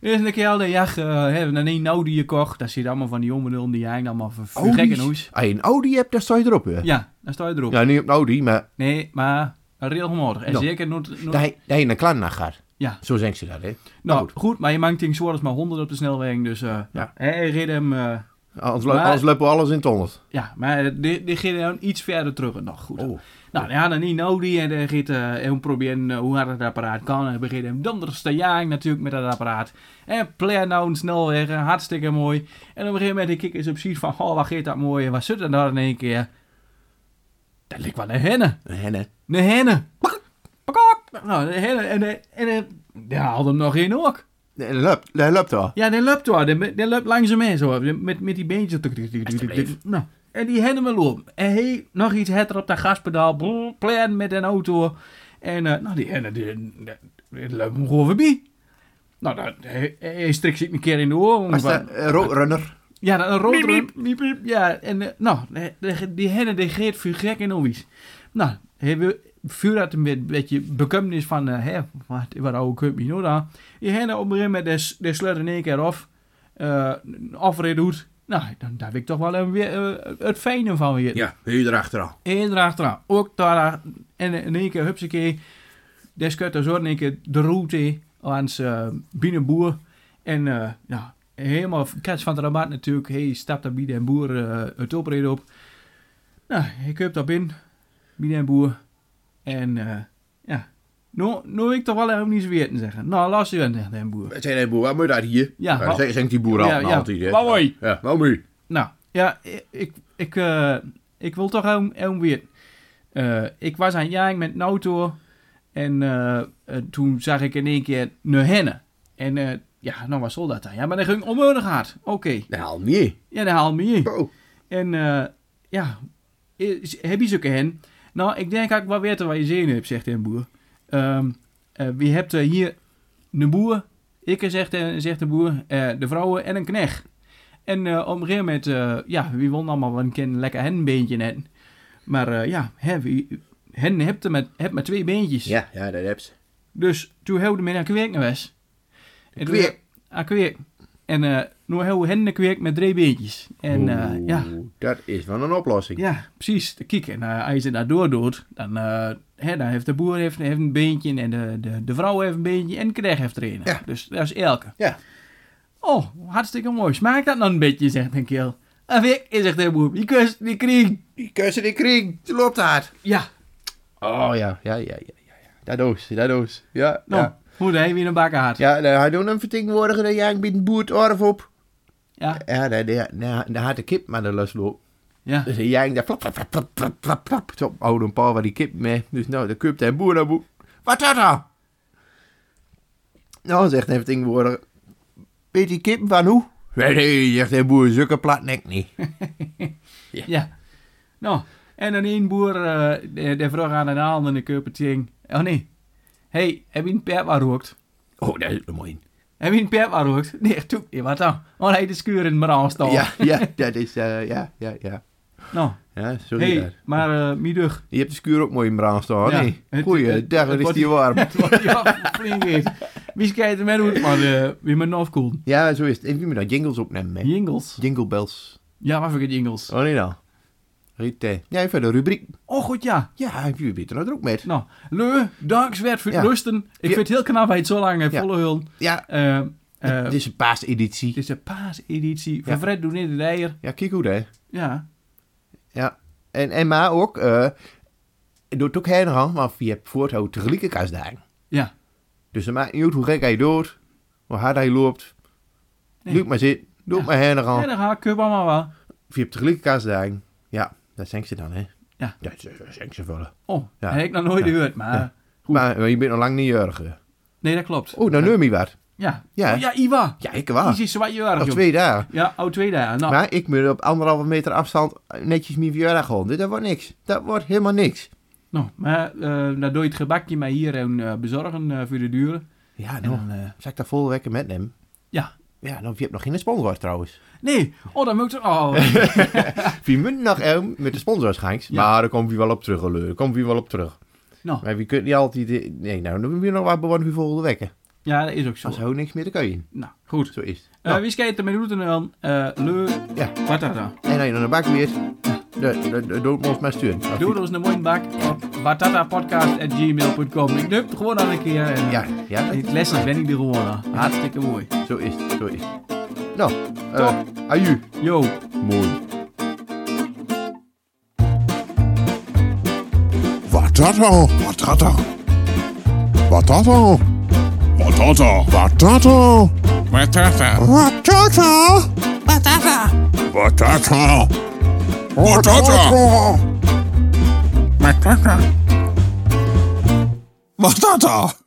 Eerst een keer al de jacht, eh, hebben een nou die je kocht. Daar zit allemaal van die jongen Oh, die hangt allemaal van van gekke hoes.
Als je Ah, een Audi hebt, dan sta je erop. Hè?
Ja, daar sta je erop.
Nou, niet op een Audi, maar
Nee, maar regelmatig. En
Nou.
zeker nooit... nooit-
dat hij- dat je een klant naar gaat.
Ja.
Zo zeggen ze dat, hè.
Nou,
goed.
goed. maar je maakt ding als maar 100 op de snelweg, dus... eh
Ja.
ja. Hij reed hem... eh,
Anders,
Maar-
anders lopen we alles in het honderd.
ja, maar die, die ging dan iets verder terug nog. Goed.
Oh.
Nou, die hadden niet nodig en dan gaat eh, hem proberen eh, hoe hard het apparaat kan. Hij begint hem donders te jagen natuurlijk met dat apparaat. En pleer nou een snelweg, eh, hartstikke mooi. En op een gegeven moment die kikkers op ziet van, oh, wat gaat dat mooi en wat zit er daar in één keer? Dat lijkt wel een henne.
Hennen.
Een henne. Pakak. Nou, een henne en, eh, en, eh, die haalde hem nog in ook.
Nee, dat loopt, dat loopt al.
Ja, die loopt hoor. Die, die loopt langzaam mee zo. Met, met die beentjes. Tuk, tuk, tuk, tuk, tuk, tuk. Nou, en die hennen we lopen. En hij nog iets hetter op dat gaspedaal. Brrr, Plan met een auto. En eh, nou, die hennen die, die, die loopt hem gewoon voorbij. Nou, dat, hij, hij strikt zich een keer in de oren.
Was dat eh, ro- runner?
Ja, dat- een rood Ja, en eh, nou, de- de- die henne die greet vuur gek in onwies. Nou, hij wil- vuur had een beetje bekomen is van, eh, hè, wat, wat oude kunt je nou dan? Die henne op een gegeven moment, die s- die sluit in één keer af. eh afreden doet. Nou, dan daar heb ik toch wel een, weer, eh, het fijne van weer.
Ja, hier erachteraan.
Eén erachteraan, ook daar. En in één keer, hupsakee. Daar schudt er zo in één keer de route langs eh binnenboer. En eh, ja, helemaal kets van de rabat natuurlijk. Hij stapt daar binnen en boer eh, het opreden op. Nou, hij koopt daar binnen. Binnen en boer. En eh, ja, nou, nou ik toch wel even niet zo weer te zeggen. Nou, las je wel, zegt de boer.
Zijn die boer, wat moet dat hier?
Ja,
dat
wat-
zegt- zegt die boer
Ja,
al, nou,
ja.
altijd. hè.
Wat moet je?
Ja, wat moet je?
Nou, ja, ik, ik, eh, Ik wil toch ook, ook weer. Eh, ik was aan het jagen met een auto. En eh, eh, toen zag ik in één keer een henne. En eh, ja, nou, wat zal dat dan? Ja, maar dat ging onmogelijk hard. Oké.
Nou, nee.
Ja, dan haal me hier.
Oh.
En eh, ja, is- heb je zulke hen? Nou, ik denk dat ik wel weten waar je zin in hebt, zegt een boer. Ehm eh, wie hebt eh, hier een boer, ik zegt, eh, zegt de boer, eh, de vrouwen en een knecht. En eh, op een gegeven moment, eh, ja, wie wil allemaal wel een keer een lekker henbeentje net. Maar eh, ja, hè, wie, hen hebt er met, hebt maar twee beentjes.
Ja, ja, dat heb ze.
Dus toen hielden men een kweek naar west. En toen-
Kweek.
Een kweek. En eh nu hielden hen een kweek met drie beentjes. En eh,
Oeh,
ja,
Dat is wel een oplossing.
ja, precies. De kiek. En eh, als je dat doordoet, dan, eh, hè, dan heeft de boer heeft, heeft een beentje en de, de, de vrouw heeft een beentje en de knecht heeft er een.
Ja.
Dus dat is elke.
Ja.
Oh, hartstikke mooi. Smaakt dat nou een beetje, zegt een keel. Of ik, zegt de boer. Die kust, die kriek.
Die kussen in kring. Ze loopt hard.
Ja,
Oh ja, ja, ja, ja. ja, ja. Dat doos, dat doos. Ja,
nou,
ja.
hoe dan weer een bakken hard.
Ja, nou, hij doet een vertegenwoordiger dat jij een boert orf op.
ja.
Ja, daar daar- daar- daar had de kip maar de lus loopt.
ja.
Dus hij jankt daar flap, flap, flap, flap, flap, flap, flap. Zo, oude een paar waar die kip mee. Dus nou, de kip en boer naar boer. Wat dat nou? Nou, zegt hij vertegenwoordiger. Weet die kip van hoe? Nee, nee, zegt de boer, zulke plat nek niet.
Ja. Nou, en dan een boer, eh de, de vroeg aan een ander in de keupertjing. Oh nee. hey, heb je een pet waar rookt?
Oh, dat is mooi.
Heb je een pet waar rookt? Nee, toe. Ja, wat dan? Oh, hij de schuur in mijn aanstaan.
Ja, ja, dat is, eh, ja, ja, ja.
Nou,
Ja, sorry
hey,
daar.
maar eh middug.
Je hebt de schuur ook mooi in brand staan,
Ja,
nee?
het-
Goeie,
het-
dag,
het
is
wordt-
die warm.
Het wordt ja, flink heet. Wie kijkt er met hoe het maar eh, weer met afkoelen.
Ja, zo is het. En wie moet nou jingles opnemen, hè?
Jingles.
Jingle bells.
Ja, maar vergeet jingles.
Oh, nee nou. Riet, ja, even de rubriek.
Oh, goed ja.
Ja, jullie weten er ook met.
Nou, leu, dankzij voor het
Ja.
rusten. Ik vind het heel knap, hij het zo lang heeft
Ja.
volle hulden.
Ja,
Eh, eh,
dit is een paaseditie.
dit is de paaseditie van
Ja.
Fred Doeneer de Dijer.
Ja, kijk hoe hè.
Ja.
Ja. En, en maar ook, eh doet ook heen gaan, want je hebt voorthoud tegelijkertijd daar.
Ja.
Dus het maakt niet uit hoe gek hij doet, hoe hard hij loopt.
Nee.
Doe het maar zit, doe het maar heen gaan.
Ja, dan ga ik eh, maar wel.
Je hebt tegelijkertijd. Ja, dat zijn ze dan, hè?
Ja.
Dat, dat dat zijn ze vullen.
Oh,
Ja.
heb ik nog nooit
Ja.
gehoord, maar...
Maar eh, je bent nog lang niet jurgen.
Nee, dat klopt.
Oh, nou neem je wat.
Ja.
Ja.
Oh, ja, Iwa.
Ja, ik
Die
wel.
is zwaar jarig,
Nog
joh.
twee dagen.
Ja, oud tweede jaar. Nou,
Maar ik moet op anderhalve meter afstand eh, netjes mijn verjaardag houden. Dit- Dat wordt niks. Dat wordt helemaal niks.
nou, maar eh, dan doe je het gebakje maar hier en eh, bezorgen eh, voor de duren.
Ja,
En
nou.
dan, eh,
Zal ik daar vol wekken met hem?
ja.
Ja, dan je hebt nog geen sponsors trouwens.
Nee, oh, dan moet ik... Oh,
Wie moet nog eh, met de sponsors gaan?
Ja.
Maar daar komt wie wel op terug, hoor. Daar komt wie wel op terug.
nou,
Maar wie kunt niet altijd... eh, Nee, nou, dan moet je nog wat bewonderen voor volgende wekken.
ja, dat is ook zo.
Als hou niks meer te kan je.
Nou, goed.
Zo is het.
Eh,
Nou,
wie schijnt er met route dan? Eh leu,
ja.
wat dat dan?
Nou, En dan je naar de bak weer. Dat- dat- dat Doe het ons maar sturen. Als
Doe
je-
ons een mooie bak op batatapodcast.gmail.com. Ik neuk het gewoon al een keer. En, eh,
Ja, ja.
Dit lessen ben ik er gewoon aan. Hartstikke mooi.
Zo is het, zo is het. Nou, eh aju.
Yo.
Mooi.
Wat dat al?
Wat dat dan?
Wat dat al?
Wat dat dan?
Wat dat al?
Wat dat dan?
Wat dat al?
Patata.
Wat dat al?
Wat dat dan?
al?
Patata. Wat dat dan?